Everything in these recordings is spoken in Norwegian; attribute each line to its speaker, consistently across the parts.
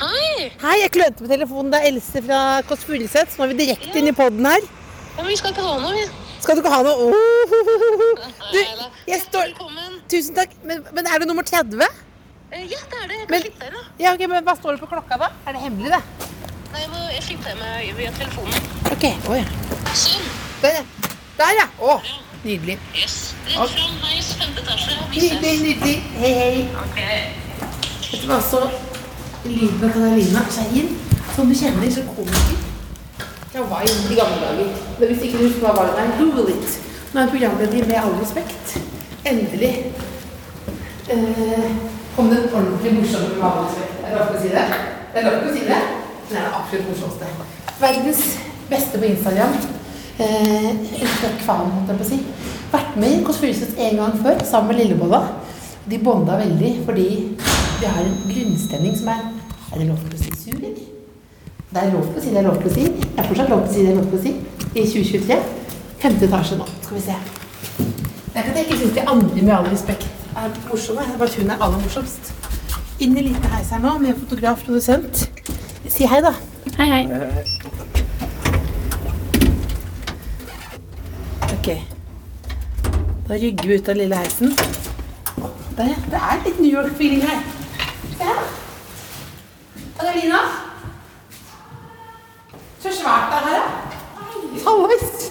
Speaker 1: Hei!
Speaker 2: Hei, jeg klønte på telefonen. Det er Else fra Kåss Furuseth. Så nå er vi direkte inn i poden her.
Speaker 1: Ja, men vi skal ikke ha noe, vi.
Speaker 2: Skal du ikke ha noe Åh, ho, ho, ho, ho. Du,
Speaker 1: Neida.
Speaker 2: jeg står
Speaker 1: Velkommen.
Speaker 2: Tusen takk. Men, men er du nummer 30?
Speaker 1: Eh, Ja, det er det. Jeg kan
Speaker 2: Men-
Speaker 1: slippe deg, da.
Speaker 2: Ja, ok, men Hva står det på klokka, da? Er det hemmelig, det?
Speaker 1: Nei, jeg må jeg slippe deg med via telefonen.
Speaker 2: Ok, oh, ja.
Speaker 1: Sånn.
Speaker 2: Der, ja. Der, ja. Å, nydelig.
Speaker 1: Yes. Rett fram, heis, femte etasje. Vi
Speaker 2: Nydelig,
Speaker 1: ses.
Speaker 2: nydelig. Hei, hei.
Speaker 1: Ok.
Speaker 2: Vet du hva, så lyden av Katarina Shahin, som du kjenner som komiker Jeg var jo i gamle dager. Men hvis ikke du husker hva var det der, google it. Nå er hun programleder i Med all respekt. Endelig eh, kom det en ordentlig morsom Med all respekt. Er det lov til å si det? Det er lov til å si det? Den er det absolutt morsomste. Verdens beste på Instagram. Eh, Elsker kvalm, holdt jeg på å si. Vært med i Kåss Furuseth en gang før, sammen med Lillebolla. De bonda veldig fordi de har en grunnstemning som er Er det lov til å si sur, eller? Det er lov til å si det er lov til å si. Det er fortsatt lov til å si det er lov til å si. I 2023. Femte etasje nå. Skal vi se. Det er ikke at jeg ikke syns de andre, med all respekt, er morsomme. Det er bare at hun er aller morsomst. Inn i liten heis her nå, med fotograf, produsent. Si hei, da.
Speaker 3: Hei, hei.
Speaker 2: Ok. Da rygger vi ut av lille heisen. Der, ja. Det er litt New York-feeling her. Ja. Adelina? Så svært det er her, ja. Hallois!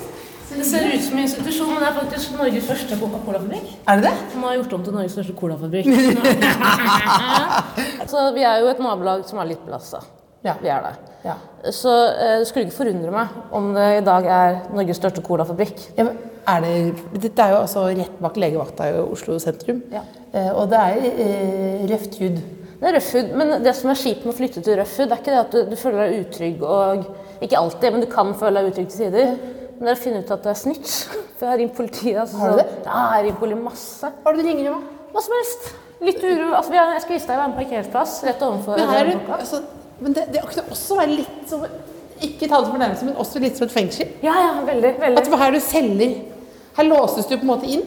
Speaker 3: Det ser ut som en institusjon, men det er faktisk Norges første Coca-Cola-fabrikk.
Speaker 2: Er det det?
Speaker 3: Som har gjort om til Norges største colafabrikk. så vi er jo et nabolag som er litt belasta.
Speaker 2: Ja.
Speaker 3: Vi er det.
Speaker 2: Ja.
Speaker 3: Så eh, det skulle ikke forundre meg om det i dag er Norges største colafabrikk.
Speaker 2: Ja, men er det, dette er jo altså rett bak legevakta i Oslo sentrum.
Speaker 3: Ja.
Speaker 2: Eh, og det er eh, røft hud.
Speaker 3: Det er Røffhud, men det som er kjipt med å flytte til Røffhud, det er ikke det at du, du føler deg utrygg og Ikke alltid, men du kan føle deg utrygg til tider. Men det er å finne ut at du er snitch. For jeg har ringt politiet. Altså,
Speaker 2: Har du det?
Speaker 3: sånn- Ja, jeg har ringt politiet masse.
Speaker 2: Hva er det du ringer om?
Speaker 3: Hva som helst. Litt uro. Altså, vi har, jeg skal vise deg hva en parkeringsplass rett ovenfor.
Speaker 2: Men, her, er
Speaker 3: blokka.
Speaker 2: det- altså, men det, det kan også være litt som Ikke ta det som fornærmelse, men også litt som et fengsel.
Speaker 3: Ja, ja, veldig. veldig.
Speaker 2: At det var her du selger. Her låses du på en måte inn.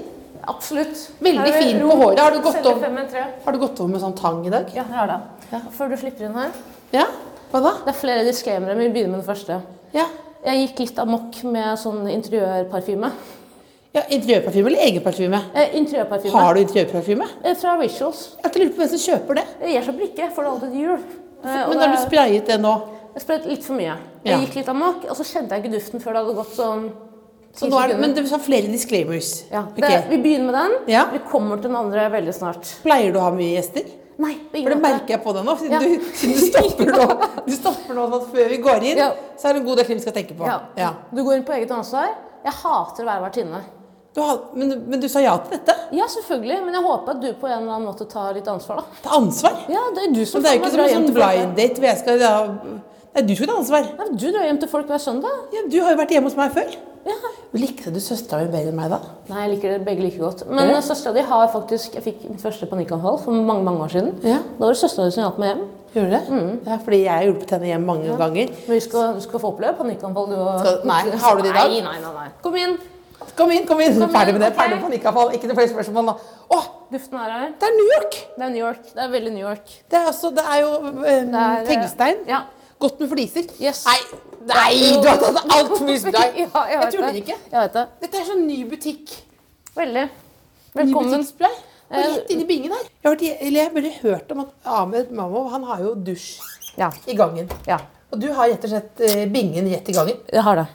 Speaker 3: Absolutt.
Speaker 2: Veldig
Speaker 3: Her er det
Speaker 2: fint på
Speaker 3: ro.
Speaker 2: håret. Har du gått
Speaker 3: Selger
Speaker 2: om?
Speaker 3: fem med tre.
Speaker 2: Har du gått over med sånn tang i dag?
Speaker 3: Ja, jeg har det. Før du slipper inn her.
Speaker 2: Ja? Hva da?
Speaker 3: Det er flere disclaimere, men vi begynner med den første.
Speaker 2: Ja,
Speaker 3: Jeg gikk litt amok med sånn interiørparfyme.
Speaker 2: ja Interiørparfyme eller egen parfyme?
Speaker 3: Eh, interiørparfyme.
Speaker 2: Har du interiørparfyme?
Speaker 3: Eh, fra Rituals.
Speaker 2: Jeg lurer på hvem som kjøper det.
Speaker 3: Jeg gjør så brikke, får det alltid til jul. Eh, og
Speaker 2: Men
Speaker 3: det
Speaker 2: har du
Speaker 3: er-
Speaker 2: sprayet det nå?
Speaker 3: Jeg sprøyt litt for mye.
Speaker 2: Ja.
Speaker 3: Jeg gikk litt amok, og så kjente jeg ikke duften før det hadde gått sånn
Speaker 2: Så nå er det, men det er sånn flere disclaimers.
Speaker 3: Ja,
Speaker 2: Ok.
Speaker 3: det, Vi begynner med den.
Speaker 2: Ja.
Speaker 3: Vi kommer til den andre veldig snart.
Speaker 2: Pleier du å ha mye gjester?
Speaker 3: Nei, på ingen
Speaker 2: For det
Speaker 3: måte.
Speaker 2: merker jeg på deg nå. Siden
Speaker 3: Ja.
Speaker 2: du, siden du stopper nå, du stopper nå sånn at før vi går inn,
Speaker 3: Ja.
Speaker 2: så er det en god del ting vi skal tenke på.
Speaker 3: Ja. Du går inn på eget ansvar. Jeg hater å være vertinne.
Speaker 2: Du har, men, men du sa ja til dette?
Speaker 3: Ja, selvfølgelig, men jeg håper at du på en eller annen måte tar litt ansvar, da.
Speaker 2: Til ansvar?
Speaker 3: Ja, det er du som
Speaker 2: Men det er jo
Speaker 3: faen
Speaker 2: ikke som en
Speaker 3: meg drar hjem
Speaker 2: sånn
Speaker 3: til folk.
Speaker 2: blind date hvor jeg skal ja, Nei, du skal ta ansvar.
Speaker 3: Ja, men du drar hjem til folk hver søndag.
Speaker 2: Ja, du har jo vært hjemme hos meg før.
Speaker 3: Ja.
Speaker 2: Likte du søstera mi bedre enn meg da?
Speaker 3: Nei, jeg liker dere begge like godt. Men
Speaker 2: Ja.
Speaker 3: ja. søstera di har faktisk Jeg fikk mitt første panikkanfall for mange mange år siden.
Speaker 2: Ja.
Speaker 3: Da var det søstera di som hjalp meg hjem.
Speaker 2: Gjorde du det?
Speaker 3: Mm.
Speaker 2: Ja, fordi jeg har hjulpet henne hjem mange ganger.
Speaker 3: Men vi skal, du skal få oppleve panikkanfall, du og
Speaker 2: Skal- nei, har du det i dag?
Speaker 3: Nei, nei, nei, nei. Kom inn.
Speaker 2: Kom inn, kom inn!
Speaker 3: Kom inn,
Speaker 2: Ferdig med det.
Speaker 3: ok.
Speaker 2: Ferdig med panikkavfall. Ikke noe flere spørsmål nå. Å,
Speaker 3: Duften er her.
Speaker 2: det er New York!
Speaker 3: Det er New York. Det er veldig New York.
Speaker 2: Det er, altså, det er jo eh,
Speaker 3: Det er, eh,
Speaker 2: teglstein.
Speaker 3: Ja.
Speaker 2: Godt med fliser.
Speaker 3: Yes.
Speaker 2: Nei, nei, du har tatt alt for mye
Speaker 3: ja,
Speaker 2: spray!
Speaker 3: jeg vet
Speaker 2: Jeg tuller
Speaker 3: det.
Speaker 2: ikke.
Speaker 3: Jeg vet det.
Speaker 2: Dette er sånn ny butikk.
Speaker 3: Veldig.
Speaker 2: Ny
Speaker 3: Velkommen.
Speaker 2: butikkspray. Og
Speaker 3: Eh,
Speaker 2: rett inn i bingen her. Jeg har, vært, i- eller jeg har bare hørt om at Ahmed Mammo han har jo dusj
Speaker 3: Ja.
Speaker 2: i gangen.
Speaker 3: ja.
Speaker 2: Og du har rett og slett eh, bingen rett i gangen.
Speaker 3: Jeg har det.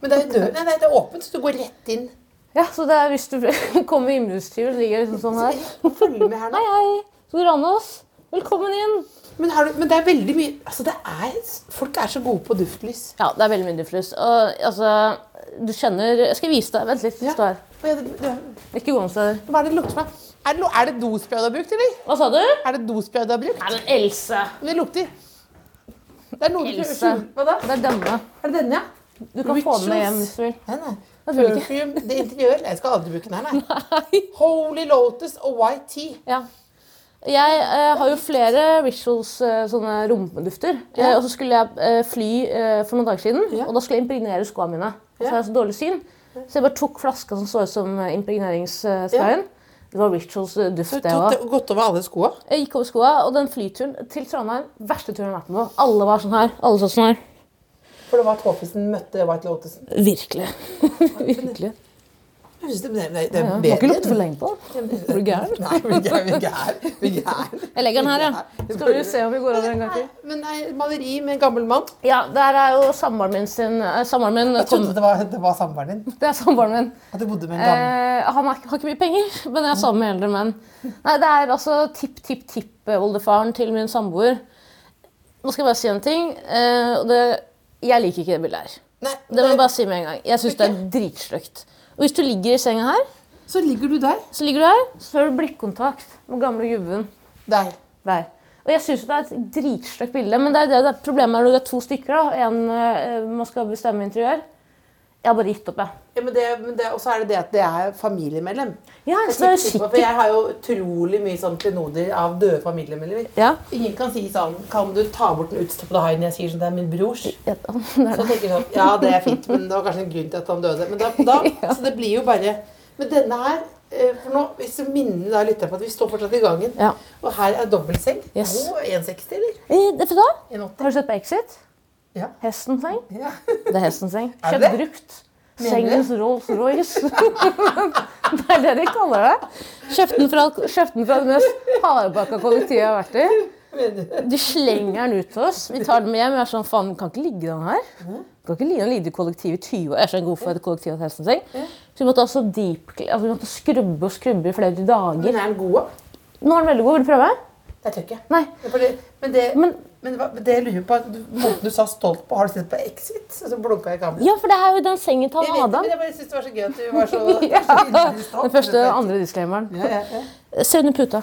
Speaker 2: Men det er, jo dør, nei, nei, det er åpent, så du går rett inn.
Speaker 3: Ja, så det er hvis du kommer med innbruddstyver, ligger jeg liksom sånn her.
Speaker 2: Følg med her nå.
Speaker 3: Hei, hei. Skal du ranne oss? Velkommen inn.
Speaker 2: Men, har du, men det er veldig mye altså det er, Folk er så gode på duftlys.
Speaker 3: Ja, det er veldig mye diffus. Og altså, du kjenner Jeg skal vise deg. Vent litt.
Speaker 2: Ja.
Speaker 3: Stå her.
Speaker 2: Og jeg- det- det-
Speaker 3: Ikke gå noen steder.
Speaker 2: Hva er det det lukter som er? Er det, lo- er det dospray du har brukt, eller?
Speaker 3: Hva sa du? Nei,
Speaker 2: Er det dospray du har brukt?
Speaker 3: men Else.
Speaker 2: Men det lukter Det er noe du
Speaker 3: Else.
Speaker 2: skjuler. Hva da?
Speaker 3: Det er denne.
Speaker 2: Er det denne, ja?
Speaker 3: Du kan få den med hjem
Speaker 4: Rituals.
Speaker 3: hvis du vil.
Speaker 2: Nei, nei.
Speaker 3: Naturlig ikke.
Speaker 2: Perfume, det er interiør. Nei, Jeg skal aldri bruke den her, nei.
Speaker 3: Nei.
Speaker 2: Holy Lotus og White Tea.
Speaker 3: Ja. Jeg eh, har jo flere rituals, eh, sånne romdufter. Eh, og så skulle jeg eh, fly eh, for noen dager siden,
Speaker 2: Ja.
Speaker 3: og da skulle jeg impregnere skoene mine. Og så har jeg så dårlig syn, så jeg bare tok flaska som så ut som eh, impregneringssprayen. Det var
Speaker 2: Så
Speaker 3: rituals-duft,
Speaker 2: du
Speaker 3: det òg.
Speaker 2: har gått over alle skoa.
Speaker 3: Jeg gikk over skoa, og den flyturen til Trondheim, verste turen jeg har vært med på. Alle var sånn her. Alle så sånn her.
Speaker 2: For det var tåfisen møtte White Lotusen.
Speaker 3: Virkelig. Virkelig.
Speaker 2: Jeg synes det, det, det, det er
Speaker 3: Ja, Må ikke
Speaker 2: bedre.
Speaker 3: lukte for lenge på den. Blir du gæren?
Speaker 2: Nei, vi er gæren, vi er gæren. Vi er gæren.
Speaker 3: Jeg legger den her, ja. Skal vi se om vi går over en gang til?
Speaker 2: Men nei, maleri med en gammel mann.
Speaker 3: Ja, der er jo samboeren min sin eh, Samboeren min
Speaker 2: Jeg
Speaker 3: kom
Speaker 2: trodde det var, det var samboeren din.
Speaker 3: Det er samboeren min.
Speaker 2: At du bodde med en gammel
Speaker 3: Eh, han er, har ikke mye penger, men jeg er sammen med eldre menn. Nei, det er altså tipp-tipp-tipp-oldefaren eh, til min samboer. Nå skal jeg bare si en ting. Eh, og det, jeg liker ikke det bildet her.
Speaker 2: Nei,
Speaker 3: Det må jeg bare si med en gang. Jeg syns det er dritstygt. Og hvis du ligger i senga her,
Speaker 4: Så ligger du der.
Speaker 3: så ligger du her, så har du blikkontakt med gamle gubben
Speaker 2: Nei.
Speaker 3: der. Og jeg syns det er et dritstygt bilde, men det er det, det er problemet er når det er to stykker. da. En eh, man skal bestemme interiør. Jeg har bare gitt opp, jeg.
Speaker 2: Ja, men det, men det, og så er det det at det er familiemedlem.
Speaker 3: Ja,
Speaker 2: Jeg,
Speaker 3: så det er
Speaker 2: sikter på,
Speaker 3: sikkert-
Speaker 2: for jeg har jo utrolig mye sånn klenoder av døde familiemedlemmer.
Speaker 3: Ja.
Speaker 2: Ingen kan si sånn Kan du ta bort den utstoppede haien? Jeg sier sånn, det er min brors.
Speaker 3: Ja, det er
Speaker 2: Så
Speaker 3: det.
Speaker 2: tenker jeg sånn, ja, det er fint, men det var kanskje en grunn til at han døde. Men da, da, Så det blir jo bare Men denne her eh, for nå, Hvis du minner da lytter på at vi står fortsatt i gangen,
Speaker 3: Ja.
Speaker 2: og her er dobbeltseng.
Speaker 3: Yes.
Speaker 2: Å, 1,60, eller?
Speaker 3: Eh, Vet du hva?
Speaker 2: 1,80?
Speaker 3: Har du sett på Exit?
Speaker 2: Ja.
Speaker 3: Hestens seng?
Speaker 2: Ja.
Speaker 3: Det er hestens seng.
Speaker 2: Er
Speaker 3: Kjøpt
Speaker 2: det?
Speaker 3: brukt.
Speaker 2: Mener du?
Speaker 3: Sengens Rolls-Royce. det er det de kaller det. Kjøpte den fra, kjøpt den fra det mest hardbakka kollektivet jeg har vært i. De slenger den ut til oss. Vi tar den med hjem. Jeg er sånn, faen, den kan ikke ligge den her. Den kan ikke ligge den ligge i kollektivet i 20 år. Jeg er så god for et kollektiv hos hestens seng. Så vi måtte altså deep, altså vi måtte skrubbe og skrubbe i flere
Speaker 2: Men
Speaker 3: dager.
Speaker 2: er den god? da?
Speaker 3: Nå er den veldig god. Vil du prøve?
Speaker 2: Det er tøkket.
Speaker 3: Nei.
Speaker 2: Men for det- Men det,
Speaker 3: Men-
Speaker 2: men, hva- men det jeg lurer på, du- måten du sa stolt på, har du sett på Exit? Og så blunka jeg i kameraet.
Speaker 3: Ja, for det er jo den sengen til
Speaker 2: Jeg vet
Speaker 3: han
Speaker 2: det,
Speaker 3: Adam.
Speaker 2: men jeg bare synes det var så gøy at du var så,
Speaker 3: Ja.
Speaker 2: så innmari stolt.
Speaker 3: Den første og andre disclaimeren.
Speaker 2: Ja, ja, ja.
Speaker 3: Se under puta.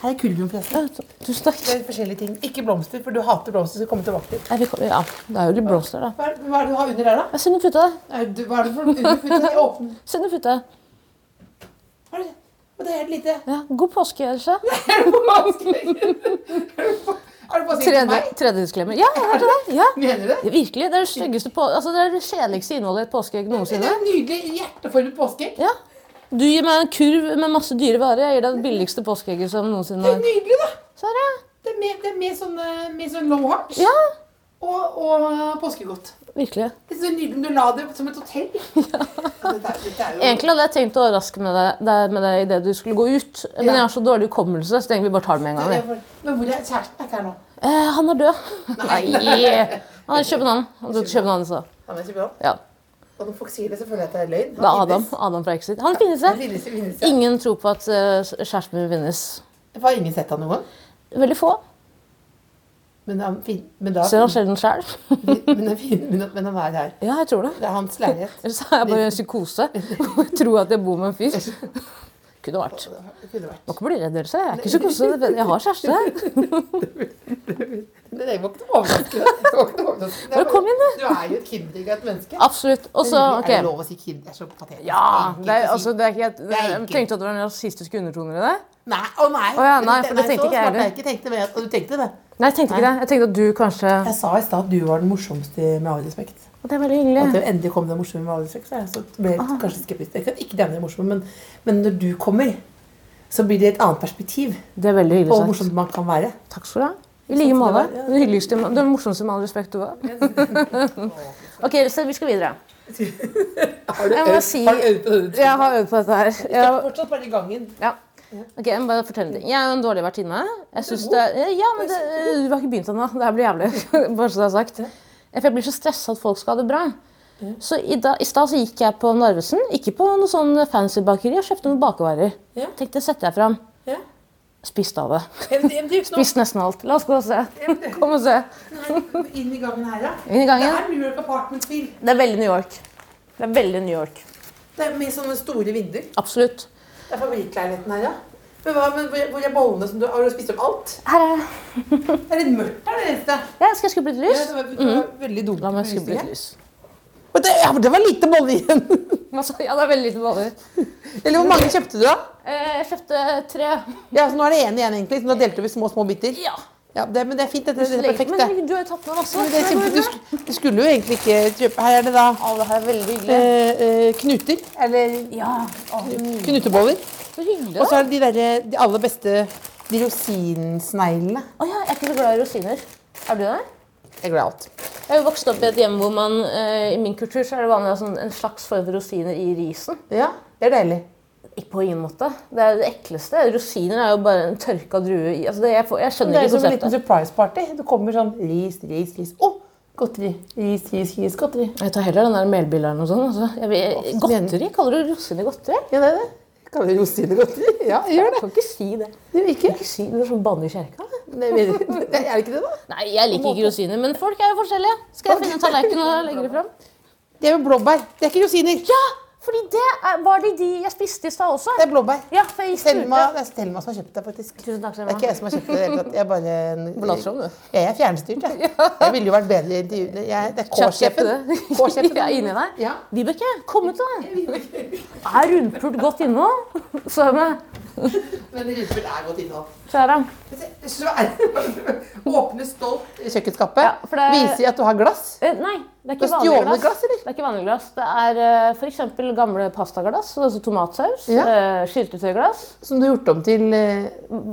Speaker 2: Her er kullgrunnen, forresten.
Speaker 3: Tusen takk.
Speaker 2: Det er forskjellige ting. Ikke blomster, for du hater blomster. Så kommer vi tilbake til.
Speaker 3: Nei, vi kom- Ja, det er jo litt blomster, da.
Speaker 2: Hva er, hva er det du har under der, da?
Speaker 3: Ja, Se under puta.
Speaker 2: Er du, hva er det for underputte? Åpne
Speaker 3: Se under puta.
Speaker 2: Hva er det? Og det er helt lite.
Speaker 3: Ja, god påske, Elsa.
Speaker 2: Er det på vanskelig? Er det på vanskelig til
Speaker 3: Tredje,
Speaker 2: meg?
Speaker 3: tredje disclaimer. Ja, jeg hørte det. Ja.
Speaker 2: Mener du det?
Speaker 3: Virkelig. Det er det styggeste på... Altså, det er det kjedeligste innholdet i et påskeegg
Speaker 2: Det
Speaker 3: noensinne.
Speaker 2: er en nydelig hjerteformet påskeegg.
Speaker 3: Ja. Du gir meg en kurv med masse dyre varer. Jeg gir deg det billigste påskeegget som
Speaker 2: Det
Speaker 3: noensinne
Speaker 2: er
Speaker 3: er.
Speaker 2: nydelig, da.
Speaker 3: Sånn, ja.
Speaker 2: Det er med, det er med sånn, eh, med sånn low heart
Speaker 3: Ja,
Speaker 2: og, og påskegodt.
Speaker 3: virkelig.
Speaker 2: Det er så nydelig om du la det som et hotell. Dette, er- dette er jo
Speaker 3: Egentlig hadde jeg tenkt å overraske med deg, deg med deg idet du skulle gå ut, men
Speaker 2: Ja.
Speaker 3: jeg har så dårlig hukommelse, så jeg tenker vi bare tar det med en gang. vi.
Speaker 2: Men hvor er kjæresten? Er ikke her nå.
Speaker 3: Eh, han er død. Nei. Han er i København. Han dro til København i stad.
Speaker 2: Han er ikke bra.
Speaker 3: Ja.
Speaker 2: Og når folk sier det, så føler jeg at det er løgn.
Speaker 3: Det er Adam. Adam fra Exit. Han finnes,
Speaker 2: Han
Speaker 3: det.
Speaker 2: finnes, han finnes, ja.
Speaker 3: Ingen tror på at eh, kjæresten min finnes.
Speaker 2: Har ingen sett han noen gang?
Speaker 3: Veldig få.
Speaker 2: Men han, fin, men, da,
Speaker 3: Ser han sjelden sjæl.
Speaker 2: men, han fin, men, han- men han er her.
Speaker 3: Ja, jeg tror det.
Speaker 2: Det er hans leilighet.
Speaker 3: Ellers er jeg bare i en psykose og tror at jeg bor med en fyr. Kunne vært.
Speaker 2: Det kunne vært.
Speaker 3: Må ikke bli redd, Else. Jeg er ikke psykose. Jeg har kjæreste.
Speaker 2: Men det var ikke noe overraskende. Det var ikke noe overraskende.
Speaker 3: Bare kom inn,
Speaker 2: Du er jo et kinderegg av et menneske.
Speaker 3: Absolutt. Og så,
Speaker 2: Er det
Speaker 3: OK.
Speaker 2: lov å si kind? Det er så patetisk.
Speaker 3: Ja, det
Speaker 2: Ikke
Speaker 3: er,
Speaker 2: si-
Speaker 3: altså, det er ikke, et-
Speaker 2: Det er
Speaker 3: jeg
Speaker 2: ikke-
Speaker 3: tenkte at det var en rasistisk undertoner i det.
Speaker 2: Nei, å nei.
Speaker 3: Å ja, nei, for
Speaker 2: Nei,
Speaker 3: det
Speaker 2: så
Speaker 3: tenkte ikke jeg
Speaker 2: smart
Speaker 3: heller.
Speaker 2: er ikke tenkte med, og du tenkte det.
Speaker 3: Nei, jeg tenkte ikke det. Jeg tenkte at du kanskje
Speaker 2: Jeg sa i stad at du var den morsomste med all respekt.
Speaker 3: Det er veldig
Speaker 2: At
Speaker 3: hyggelig.
Speaker 2: det endelig kom den morsomme med all respekt, så jeg så ble jeg
Speaker 3: Ah.
Speaker 2: litt kanskje skeptisk. Ikke at ikke den er morsom, men, men når du kommer, så blir det et annet perspektiv
Speaker 3: Det er
Speaker 2: på
Speaker 3: veldig
Speaker 2: hvor
Speaker 3: hyggelig
Speaker 2: morsomt
Speaker 3: sagt.
Speaker 2: man kan være.
Speaker 3: Takk skal du ha. I like måte. Den hyggeligste, den morsomste med all respekt du har. OK, så vi skal videre.
Speaker 2: Har du
Speaker 3: Jeg må
Speaker 2: øvd-
Speaker 3: si-
Speaker 2: har du øvd på det?
Speaker 3: Jeg har øvd på dette her. Jeg,
Speaker 2: Fortsatt bare i gangen.
Speaker 3: ja. Ok, Jeg må bare fortelle deg. Jeg er jo en dårlig vertinne. Jeg synes det, ja, men det, Du har ikke begynt ennå. Det her blir jævlig. Bare så det er sagt. For jeg blir så stressa at folk skal ha det bra. Så i, da, I stad så gikk jeg på Narvesen. Ikke på noe sånn fancy bakeri. Jeg kjøpte noen bakevarer.
Speaker 2: Ja.
Speaker 3: Tenkte, setter jeg fram.
Speaker 2: Ja.
Speaker 3: Spiste av det.
Speaker 2: Jeg- jeg- jeg- nå-
Speaker 3: Spiste nesten alt. La oss gå og se. Kom og se.
Speaker 2: Nei, Inn i gangen her, ja.
Speaker 3: Inn i
Speaker 2: Det
Speaker 3: gangen.
Speaker 2: er New York Apartment-stil.
Speaker 3: Det er veldig New York. Det er veldig New York.
Speaker 2: Det er med sånne store vinduer.
Speaker 3: Absolutt.
Speaker 2: Det er favorittleiligheten her, ja. Men, hva, men hvor hvor er bollene som du Har du spist opp alt?
Speaker 3: Her er det.
Speaker 2: Det er litt mørkt her, det eneste.
Speaker 3: Ja, skal jeg skru på litt
Speaker 2: Ja,
Speaker 3: lys?
Speaker 2: det var, det var veldig dumt.
Speaker 3: Mm. La meg skru på litt lys.
Speaker 2: Men Det, ja, men det var lite boller igjen.
Speaker 3: Altså, ja, det er veldig lite boller.
Speaker 2: Eller hvor mange kjøpte du, da?
Speaker 3: Eh, Jeg kjøpte tre.
Speaker 2: Ja, så Nå er det én igjen, egentlig. Så nå delte vi små, små biter.
Speaker 3: Ja.
Speaker 2: Ja, det, men det er fint. Dette det er perfekt, det.
Speaker 3: Men du har jo tatt med masse.
Speaker 2: Men det er kjempe, du, sk- du skulle jo egentlig ikke kjøpe Her er det da
Speaker 3: Alle her er veldig hyggelige.
Speaker 2: eh, eh, knuter. Eller
Speaker 3: Ja, å,
Speaker 2: knuteboller.
Speaker 3: så hyggelig.
Speaker 2: Og
Speaker 3: da.
Speaker 2: så er det de, derre- de aller beste de rosinsneglene.
Speaker 3: Å ja, jeg er ikke så glad i rosiner. Er du det?
Speaker 2: Jeg er glad i alt.
Speaker 3: Jeg har jo vokst opp i et hjem hvor man eh, i min kultur så er det vanlig å ha sånn, en slags form for rosiner i risen.
Speaker 2: Ja, det er deilig.
Speaker 3: Ikke på ingen måte. Det er det ekleste. Rosiner er jo bare en tørka drue i altså, det, jeg, får, jeg
Speaker 2: Det
Speaker 3: skjønner
Speaker 2: er
Speaker 3: ikke
Speaker 2: som en liten
Speaker 3: konseptet.
Speaker 2: surprise party. Du kommer sånn ris, ris, ris. Å, godteri. Ris, ris, ris, godteri.
Speaker 3: Jeg tar heller den der melbilleren og sånn. Altså. Jeg, vil-
Speaker 2: Åh, men-
Speaker 3: godteri? Kaller du rosiner godteri?
Speaker 2: Ja, det er det. Kaller det rosinegodteri? Ja, jeg gjør
Speaker 3: Jeg
Speaker 2: det.
Speaker 3: kan ikke si det.
Speaker 2: Det virker.
Speaker 3: Ikke si det som banne i kjerka.
Speaker 2: Nei, men- Nei, er det ikke det, da?
Speaker 3: Nei, jeg liker ikke rosiner, men folk er jo forskjellige. Skal jeg finne en tallerken og legge det fram?
Speaker 2: Det er jo blåbær. Det er ikke rosiner.
Speaker 3: Ja, fordi det er, var de de jeg spiste i stad også.
Speaker 2: Det er blåbær.
Speaker 3: Ja, for jeg
Speaker 2: Selma,
Speaker 3: spurte.
Speaker 2: det er Selma som har kjøpt det, faktisk.
Speaker 3: Tusen takk,
Speaker 2: Det er ikke
Speaker 3: Selma.
Speaker 2: jeg som har kjøpt det. i det hele tatt. Jeg er bare en...
Speaker 3: Blander om, du.
Speaker 2: Jeg er fjernstyrt, jeg. Jeg ville jo vært bedre i intervjuene. Jeg, det er K-sjefen.
Speaker 3: K-sjefen. Jeg er inni deg.
Speaker 2: Ja.
Speaker 3: Vibeke, kom ut av deg. Er rundpult godt inne nå? Så er det.
Speaker 2: Men rundfull er godt innhold.
Speaker 3: Kjære.
Speaker 2: Åpne stolt kjøkkenskapet.
Speaker 3: Ja, for det-
Speaker 2: Viser at du har glass.
Speaker 3: Eh, Nei, det er ikke
Speaker 2: Du har
Speaker 3: vanlig
Speaker 2: stjålet
Speaker 3: glass.
Speaker 2: glass, eller?
Speaker 3: Det er ikke vanlig glass. Det er eh, for eksempel gamle pastaglass, altså tomatsaus,
Speaker 2: Ja.
Speaker 3: eh, syltetøyglass,
Speaker 2: Som du har gjort om til eh,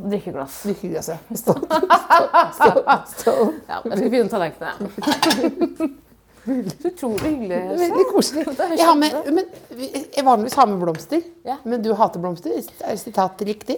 Speaker 3: drikkeglass.
Speaker 2: drikkeglasset. Stolt. Stolt. Stolt. stolt.
Speaker 3: Ja, jeg skal finne tallerkenene. ja. Så utrolig hyggelig. Else.
Speaker 2: Veldig koselig. Jeg har med, men, jeg vanligvis har med blomster,
Speaker 3: Ja.
Speaker 2: men du hater blomster. Er sitatet riktig?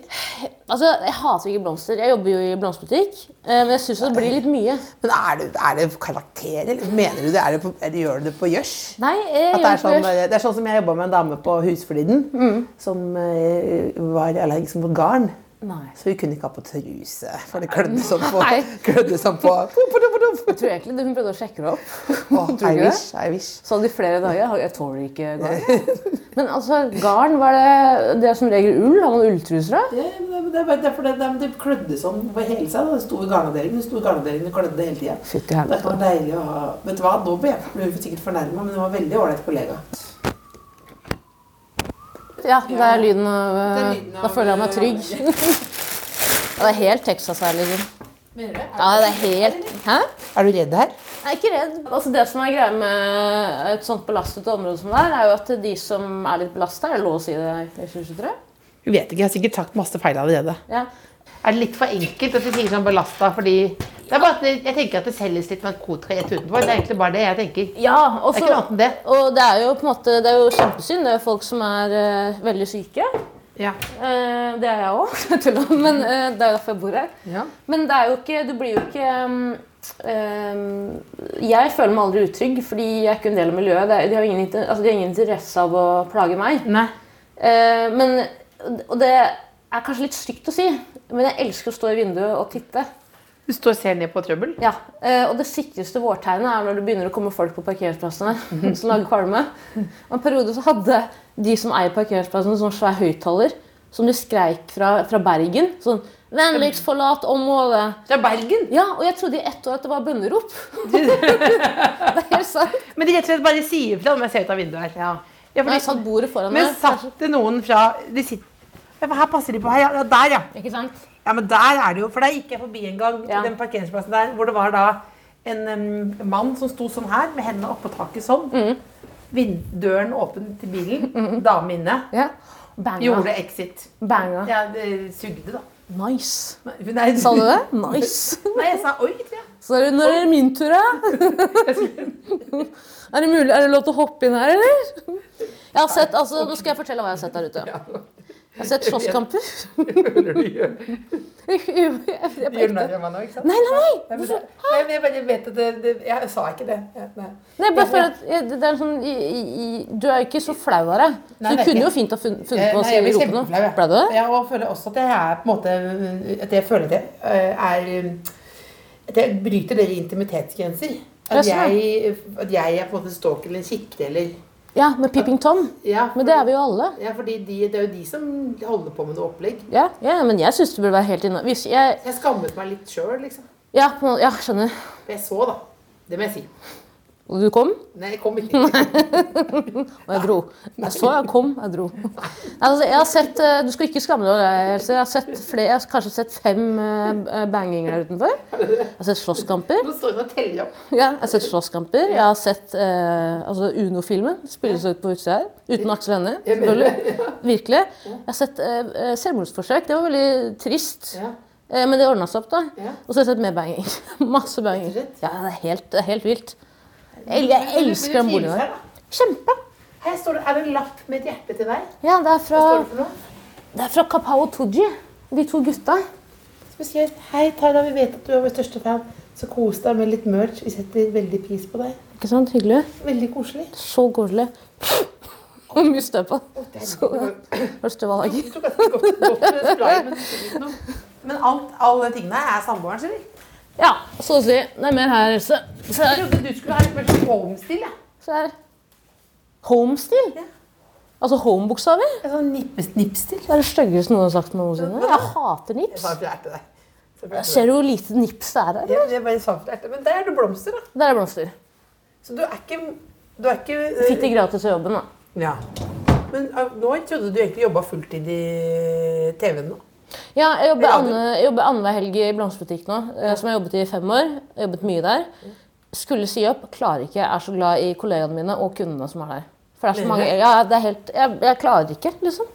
Speaker 3: Altså, jeg hater ikke blomster. Jeg jobber jo i blomsterbutikk. eh, Men jeg syns det blir litt mye.
Speaker 2: Men er det, er det karakter, eller mener du det? Er det på, er det, gjør du det på gjørs?
Speaker 3: Nei, eh,
Speaker 2: At
Speaker 3: jeg
Speaker 2: det, er
Speaker 3: gjør
Speaker 2: sånn,
Speaker 3: ikke det. Mm.
Speaker 2: det er sånn som jeg jobba med en dame på Husfliden, som eh, var allergisk mot garn.
Speaker 3: Nei.
Speaker 2: Så hun kunne ikke ha på truse, for det klødde sånn på.
Speaker 3: Nei.
Speaker 2: Klødde sånn på.
Speaker 3: Jeg tror egentlig hun prøvde å sjekke det opp.
Speaker 2: Åh,
Speaker 3: Tror du
Speaker 2: I
Speaker 3: ikke
Speaker 2: wish, I wish.
Speaker 3: Så hadde de flere dager. Jeg tåler ikke garn. jeg. Men altså, garn var det Det er som regel ull. Har man ulltruser av?
Speaker 2: Det, det, klødde sånn på hele seg. Det sto i garnavdelingen, det sto i garnavdelingen, det klødde hele tida.
Speaker 3: Fytti helvete.
Speaker 2: var deilig å ha Vet du hva, nå ble hun sikkert fornærma, men hun var veldig ålreit kollega.
Speaker 3: Ja, det er lyden av
Speaker 2: Det
Speaker 3: eh,
Speaker 2: er lyden av-
Speaker 3: Da føler jeg meg trygg. Ja, Det er helt Texas her, liksom. Ja, det er helt Hæ?
Speaker 2: Er du redd her?
Speaker 3: Jeg er ikke redd. Altså Det som er greia med et sånt belastet område som det er, er jo at de som er litt belasta, er det lov å si det i 2023?
Speaker 2: Hun vet ikke, jeg har sikkert sagt masse feil allerede.
Speaker 3: Ja.
Speaker 2: Er det litt for enkelt at vi sier sånn belasta fordi det er bare at det, Jeg tenker at det selges litt narkotika i et utenfor. Det er egentlig bare det jeg tenker.
Speaker 3: ja og
Speaker 2: Det er
Speaker 3: så-
Speaker 2: ikke noe annet enn det.
Speaker 3: Og det er jo på en måte, det er jo kjempesynd. Det er jo folk som er eh, veldig syke.
Speaker 2: Ja.
Speaker 3: Eh, det er jeg òg, men eh, det er jo derfor jeg bor her.
Speaker 2: Ja.
Speaker 3: Men det er jo ikke Du blir jo ikke mm, eh, Jeg føler meg aldri utrygg, fordi jeg er ikke en del av miljøet. Det er, de, har ingen, inter- altså, de har ingen interesse av å plage meg.
Speaker 2: Nei.
Speaker 3: Eh, men, og det er kanskje litt stygt å si, men jeg elsker å stå i vinduet og titte.
Speaker 2: Du står og ser ned på trøbbel?
Speaker 3: Ja, eh, Og det sikreste vårtegnet er når det begynner å komme folk på parkeringsplassene som lager kvalme. Og en periode så hadde de som eier parkeringsplassen, en sånn svær høyttaler som de skreik fra, fra Bergen. Sånn 'Vennligst forlat området'.
Speaker 2: Fra Bergen?
Speaker 3: Ja, og jeg trodde i ett år at det var bønnerop. det er helt sant.
Speaker 2: Men de rett og slett bare sier fra om jeg ser ut av vinduet her. Ja. for
Speaker 3: Men jeg
Speaker 2: de-
Speaker 3: satt bordet foran
Speaker 2: men
Speaker 3: meg.
Speaker 2: satt det noen fra de sitter, ja, men Her passer de på. Her, ja, ja, der, ja.
Speaker 3: Ikke sant?
Speaker 2: ja. Men der er det jo For der gikk jeg forbi en gang
Speaker 3: Ja.
Speaker 2: den parkeringsplassen der hvor det var da en em, mann som sto sånn her med hendene oppå taket sånn.
Speaker 3: Mm.
Speaker 2: Vind, døren åpen til bilen. Dame inne.
Speaker 3: Ja. Banga.
Speaker 2: Gjorde exit.
Speaker 3: Banga.
Speaker 2: Ja, det sugde, da.
Speaker 3: Nice.
Speaker 2: Nei, nei,
Speaker 3: Sa du det? Nice.
Speaker 2: Nei, jeg sa oi, tror jeg.
Speaker 3: Så er det, når er det min tur, da? er, det mulig, er det lov til å hoppe inn her, eller? Jeg har sett, altså, nå skal jeg fortelle hva jeg har sett der ute. Jeg har sett slåsskamper. Jeg- jeg- jeg-
Speaker 2: Du gjør
Speaker 3: jeg-
Speaker 2: narr av meg nå, ikke sant?
Speaker 3: Nei, nei, nei!
Speaker 2: Nei, men det- nei, men jeg bare vet at det, det Jeg sa ikke det. Ja, Nei.
Speaker 3: Nei, bare for at jeg- det er en sånn, i- i- i- Du er jo ikke så flau av deg.
Speaker 2: Nei,
Speaker 3: Så du
Speaker 2: det er
Speaker 3: kunne jo
Speaker 2: ikke.
Speaker 3: fint ha funnet, funnet
Speaker 2: Eh,
Speaker 3: på å
Speaker 2: nei,
Speaker 3: si
Speaker 2: jeg blir
Speaker 3: rope noe.
Speaker 2: kjempeflau, jeg.
Speaker 3: Ble du det?
Speaker 2: Ja, og jeg føler også at jeg er på en måte At jeg føler det
Speaker 5: eh,
Speaker 2: er At jeg bryter dere intimitetsgrenser. At
Speaker 3: Ja, sånn,
Speaker 2: jeg, at jeg er på en måte stalker eller kikker eller
Speaker 3: Ja, med Peeping Tom.
Speaker 5: Ja,
Speaker 3: Men det er vi jo alle.
Speaker 5: ja, fordi de, det er jo de som holder på med noe opplegg.
Speaker 3: Ja, ja men jeg syns det burde være helt innafor. Jeg,
Speaker 5: Jeg skammet meg litt sjøl, liksom.
Speaker 3: ja, på en måte- ja, skjønner.
Speaker 5: For jeg så, da. Det må jeg si.
Speaker 3: Og du kom,
Speaker 5: Nei, jeg kom ikke.
Speaker 3: og jeg dro. Jeg så jeg kom, jeg dro. Altså, jeg har sett, eh, Du skal ikke skamme deg over det, Else. Jeg har sett flere, jeg har kanskje sett fem eh, banginger der utenfor. Jeg har sett slåsskamper.
Speaker 5: Nå står hun og teller opp.
Speaker 3: Ja, jeg har sett slåsskamper. Jeg har sett eh, altså Uno-filmen spilles ut på utsida her. Uten Aksel Hennie, selvfølgelig. Virkelig. Jeg har sett eh, eh, selvmordsforsøk. Det var veldig trist.
Speaker 5: Ja.
Speaker 3: Eh, men det ordna seg opp, da.
Speaker 5: Ja.
Speaker 3: Og så har jeg sett mer banging. Masse banging.
Speaker 5: Rett og slett.
Speaker 3: Ja, det er helt, det er helt vilt. Jeg, jeg elsker den boligen der. Kjempe!
Speaker 5: Her står det, er det en lapp med et hjerte til deg.
Speaker 3: Ja, det er fra,
Speaker 5: Hva står det for noe?
Speaker 3: det er fra Kapao Tooji. De to gutta.
Speaker 5: Så vi skrev, Hei, Tara, vi vet at du er vår største fan, så kos deg med litt merch. Vi setter veldig pris på deg.
Speaker 3: Ikke sant? Hyggelig.
Speaker 5: Veldig koselig.
Speaker 3: Så koselig. Og mye støv på. Så, har du støvallergi?
Speaker 5: Du tok ganske godt godt med spray, men du tok ikke noe. Men alt, alle tingene her er samboeren sin. Jeg
Speaker 3: Ja, så å si. Det er mer her, Else. Se her.
Speaker 5: trodde du skulle ha litt mer sånn homestil. jeg.
Speaker 3: Se her. Homestil. Altså homebokstaver.
Speaker 5: En sånn nippes-nippstil.
Speaker 3: Det er det styggeste noen har sagt noensinne.
Speaker 5: Men da-
Speaker 3: Jeg hater
Speaker 5: Jeg
Speaker 3: nips.
Speaker 5: sa flerte deg. Så flerte deg.
Speaker 3: Ser du hvor lite nips det er her?
Speaker 5: Ja, jeg bare sa flerte. Men der er det blomster, da.
Speaker 3: Der er blomster.
Speaker 5: Så du er ikke Du er ikke eh,
Speaker 3: Fikk de gratis av jobben, da.
Speaker 5: Ja. Men eh, nå trodde du egentlig jobba fulltid i TV-en nå.
Speaker 3: Ja, jeg jobber,
Speaker 5: Ja, du-
Speaker 3: anne, jeg jobber annenhver helg i blomsterbutikk nå, eh, som jeg har jobbet i i fem år. Jeg har jobbet mye der. Skulle si opp, klarer ikke. Jeg er så glad i kollegaene mine og kundene som er der. For det er så mange, ja, det er helt, jeg, jeg klarer ikke, liksom.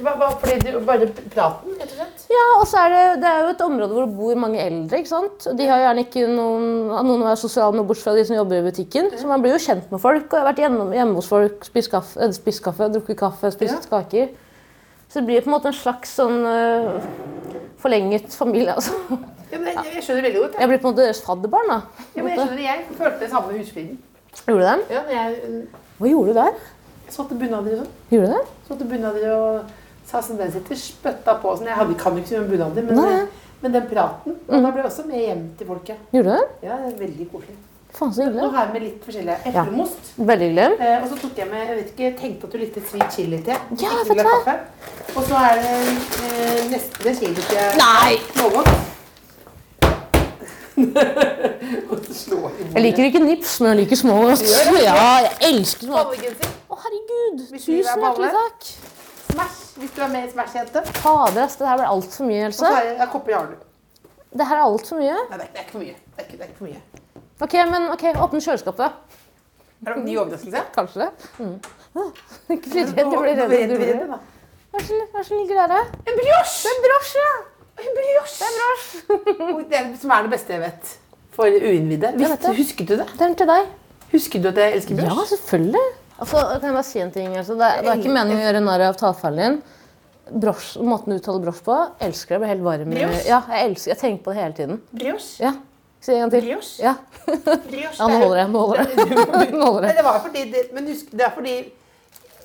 Speaker 5: Hva, hva, fordi du, bare praten, rett og slett?
Speaker 3: Ja, og så er det, det er jo et område hvor det bor mange eldre. ikke sant? Og De har gjerne ikke noen noen å være sosiale med, bortsett fra de som jobber i butikken. Så man blir jo kjent med folk. og Jeg har vært hjemme, hjemme hos folk, spist kaffe, eh, spist kaffe, drukket kaffe, spist kaker. Så det blir på en måte en slags sånn eh, forlenget familie. altså.
Speaker 5: Ja, men jeg, jeg skjønner veldig godt. Jeg,
Speaker 3: Jeg blir på en måte deres fadderbarn, da.
Speaker 5: ja, men jeg skjønner, jeg følte det samme med husfriden.
Speaker 3: Gjorde du det?
Speaker 5: Ja, når jeg, eh,
Speaker 3: Hva gjorde du der?
Speaker 5: jeg satt i bunader og sånn.
Speaker 3: Gjorde du det?
Speaker 5: Satt i bunader og sa sånn den sitter spytta på sånn. Jeg hadde, kan jo ikke så mye om bunader, men, eh,
Speaker 3: Nei. Mm.
Speaker 5: men den praten Og da ble jeg også med hjem til folket.
Speaker 3: Gjorde du det?
Speaker 5: Ja, det er veldig koselig.
Speaker 3: Faen, så
Speaker 5: Nå
Speaker 3: hyggelig.
Speaker 5: har jeg med litt forskjellige eplemost.
Speaker 3: Veldig hyggelig.
Speaker 5: Eh, og så tok jeg med jeg vet ikke, jeg tenkte at du likte sweet chili te.
Speaker 3: Ja,
Speaker 5: Ikke
Speaker 3: vet du
Speaker 5: ville ha
Speaker 3: hva?
Speaker 5: kaffe. Og så er det eh, neste chili te
Speaker 3: Nei!
Speaker 5: Smågodt. og så slår jeg i bordet.
Speaker 3: Jeg liker ikke nips, men jeg liker små. Ja, jeg elsker små.
Speaker 5: Ballegenser.
Speaker 3: Å, herregud!
Speaker 5: Hvis vi vil ha
Speaker 3: Tusen hjertelig
Speaker 5: baller.
Speaker 3: takk.
Speaker 5: Smash, hvis du er med i Smash-jente. Og
Speaker 3: Fader, ass, det her ble altfor mye,
Speaker 5: så
Speaker 3: Else.
Speaker 5: er det jeg kopper Jarlu.
Speaker 3: Det her er altfor mye.
Speaker 5: Nei, det er, ikke- det er ikke for mye. Det er ikke, det er ikke for mye.
Speaker 3: Ok, men ok, åpne kjøleskapet.
Speaker 5: Er det en ny overraskelse?
Speaker 3: Kanskje det. Mm. Ikke bli redd, du blir redd. du blir redd. Hva slags- hva slags ligger der? da?
Speaker 5: En brioche!
Speaker 3: En brosje!
Speaker 5: En brioche! Og Det er det som er det beste jeg vet. For uinnvidde.
Speaker 3: Jeg vet
Speaker 5: Visste-
Speaker 3: det.
Speaker 5: Husket du det?
Speaker 3: Det er den til deg.
Speaker 5: Husker du at jeg elsker
Speaker 3: Ja,
Speaker 5: brioche?
Speaker 3: selvfølgelig. Altså, kan jeg bare si en ting? Altså, det, er, det er ikke meningen å gjøre narr av talefeilen din. Brosj, måten du uttaler brosj på, elsker jeg. Jeg blir helt varm. i-
Speaker 5: Brioche?
Speaker 3: Ja, jeg, elsker, jeg tenker på det hele tiden.
Speaker 5: Brioche.
Speaker 3: Ja. Si det en gang til.
Speaker 5: Brioche.
Speaker 3: Ja.
Speaker 5: brioche.
Speaker 3: ja, nå holder jeg. Nå holder jeg. Nå holder
Speaker 5: Nei,
Speaker 3: jeg.
Speaker 5: det var fordi det, men husk, det er fordi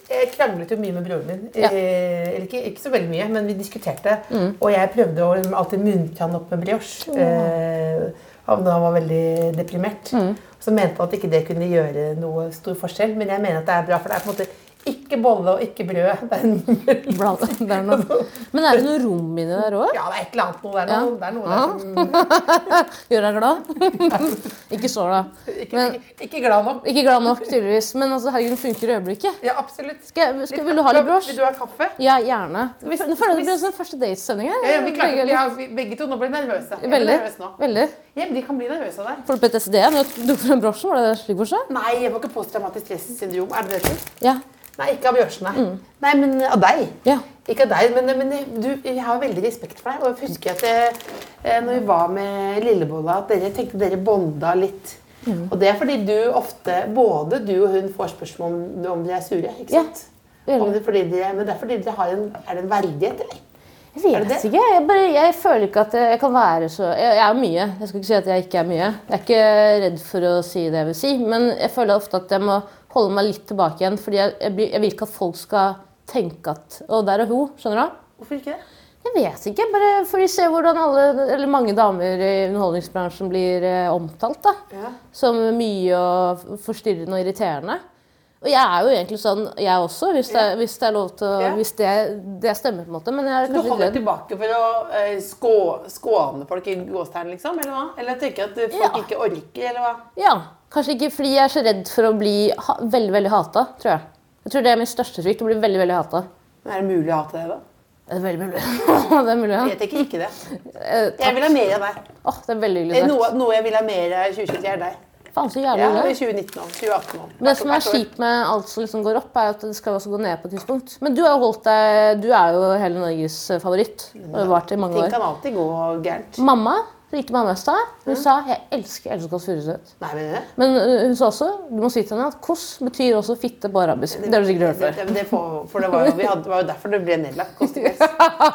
Speaker 5: jeg kranglet jo mye med broren min.
Speaker 3: Ja. Mm.
Speaker 5: Eh, eller ikke, ikke så veldig mye, men vi diskuterte. Og jeg prøvde å alltid muntre han opp med brioche. Eh, av når han var veldig deprimert.
Speaker 3: Mm.
Speaker 5: Så mente han at ikke det kunne gjøre noe stor forskjell. Men jeg mener at det er bra, for det er på en måte ikke bolle og ikke brød. Det er en,
Speaker 3: Bra, det er noe. Men er det noe rom inni der òg?
Speaker 5: ja, det er et eller annet noe. Det er noe, det er noe der som
Speaker 3: Gjør deg glad? ikke så glad.
Speaker 5: ikke,
Speaker 3: Men-
Speaker 5: ikke, ikke glad nok.
Speaker 3: Ikke glad nok, tydeligvis. Men altså, herregud, den funker i øyeblikket.
Speaker 5: Ja, absolutt.
Speaker 3: Skal, jeg- skal, vil du ha litt
Speaker 5: Vil
Speaker 3: brosj?
Speaker 5: du ha kaffe?
Speaker 3: Ja, gjerne. Nå
Speaker 5: Hvis-
Speaker 3: føler jeg det blir som første datesending her.
Speaker 5: Ja, ja, vi
Speaker 3: Begge
Speaker 5: klarte,
Speaker 3: litt-
Speaker 5: vi har, vi, begge to nå ble nervøse. Jeg ble
Speaker 3: Veldig.
Speaker 5: nervøs nå.
Speaker 3: Veldig.
Speaker 5: Ja, men de kan bli nervøse av deg.
Speaker 3: Får du PTSD når du får en brosje? Var det det slik brosje?
Speaker 5: Nei, jeg får ikke posttraumatisk stressyndrom. Er det det? heter?
Speaker 3: Ja.
Speaker 5: Nei, ikke av Bjørsen, nei. Nei, men av deg.
Speaker 3: Ja.
Speaker 5: Ikke av deg, men, men du, jeg har veldig respekt for deg. Og jeg husker at det, eh, når vi var med Lillebolla, at dere tenkte dere bonda litt. Og det er fordi du ofte, både du og hun, får spørsmål om, om de er sure. ikke
Speaker 3: Ja,
Speaker 5: sant?
Speaker 3: veldig.
Speaker 5: Om det, fordi de, men det er fordi dere har en, er det en verdighet, eller?
Speaker 3: Jeg
Speaker 5: Er
Speaker 3: vet
Speaker 5: det det?
Speaker 3: ikke. Jeg, bare, jeg føler ikke at jeg kan være så jeg, jeg er mye. Jeg skal ikke si at jeg ikke er mye. Jeg er ikke redd for å si det jeg vil si, men jeg føler ofte at jeg må holde meg litt tilbake igjen. Fordi jeg, jeg, blir, jeg vil ikke at folk skal tenke at Å, der er hun. Skjønner du?
Speaker 5: Hvorfor ikke det?
Speaker 3: Jeg vet ikke. Bare for å se hvordan alle, eller mange damer i underholdningsbransjen blir eh, omtalt. da.
Speaker 5: Ja.
Speaker 3: Som mye og forstyrrende og irriterende. Og jeg er jo egentlig sånn, jeg også, hvis det, hvis det er lov til å
Speaker 2: Ja.
Speaker 3: Hvis det, det stemmer, på en måte. Men jeg er
Speaker 2: Du
Speaker 3: kanskje
Speaker 2: holder
Speaker 3: litt redd.
Speaker 2: tilbake for å eh, skå, skåne folk i gåstegn, liksom? Eller hva? Eller tenker at folk
Speaker 3: Ja.
Speaker 2: ikke orker, eller hva?
Speaker 3: Ja, kanskje ikke fordi jeg er så redd for å bli ha veldig, veldig hata, tror jeg. Jeg tror det er min største frykt, å bli veldig, veldig hata.
Speaker 2: Men Er det mulig å ha til det, da?
Speaker 3: Det er veldig mulig. det er mulig, ja.
Speaker 2: Jeg tenker ikke det.
Speaker 3: Eh,
Speaker 2: Jeg vil ha mer av deg.
Speaker 3: Åh, det er veldig
Speaker 2: Eh,
Speaker 3: hyggelig
Speaker 2: Noe,
Speaker 3: sagt.
Speaker 2: noe jeg vil ha mer av i 2023, er deg.
Speaker 3: Faen, så
Speaker 2: Ja,
Speaker 3: jævlig
Speaker 2: i
Speaker 3: hyggelig.
Speaker 2: 2019 og 2018 òg.
Speaker 3: Men det som er kjipt med alt som liksom går opp, er at det skal jo også gå ned på et tidspunkt. Men du har jo holdt deg Du er jo hele Norges eh, favoritt. Og har vært det i mange
Speaker 2: Ting
Speaker 3: år.
Speaker 2: kan alltid gå gærent.
Speaker 3: Mamma ringte mamma i stad. Hun sa 'Jeg elsker Else Kåss Furuseth'.
Speaker 2: Nei, men det,
Speaker 3: Men øh, hun sa også du må si til henne at 'Kåss' betyr også fitte på arabisk. Det har du sikkert hørt
Speaker 2: det,
Speaker 3: før.
Speaker 2: det, det, får- for det var jo, vi hadde, det var jo derfor det ble nedlagt Kåss til kvelds.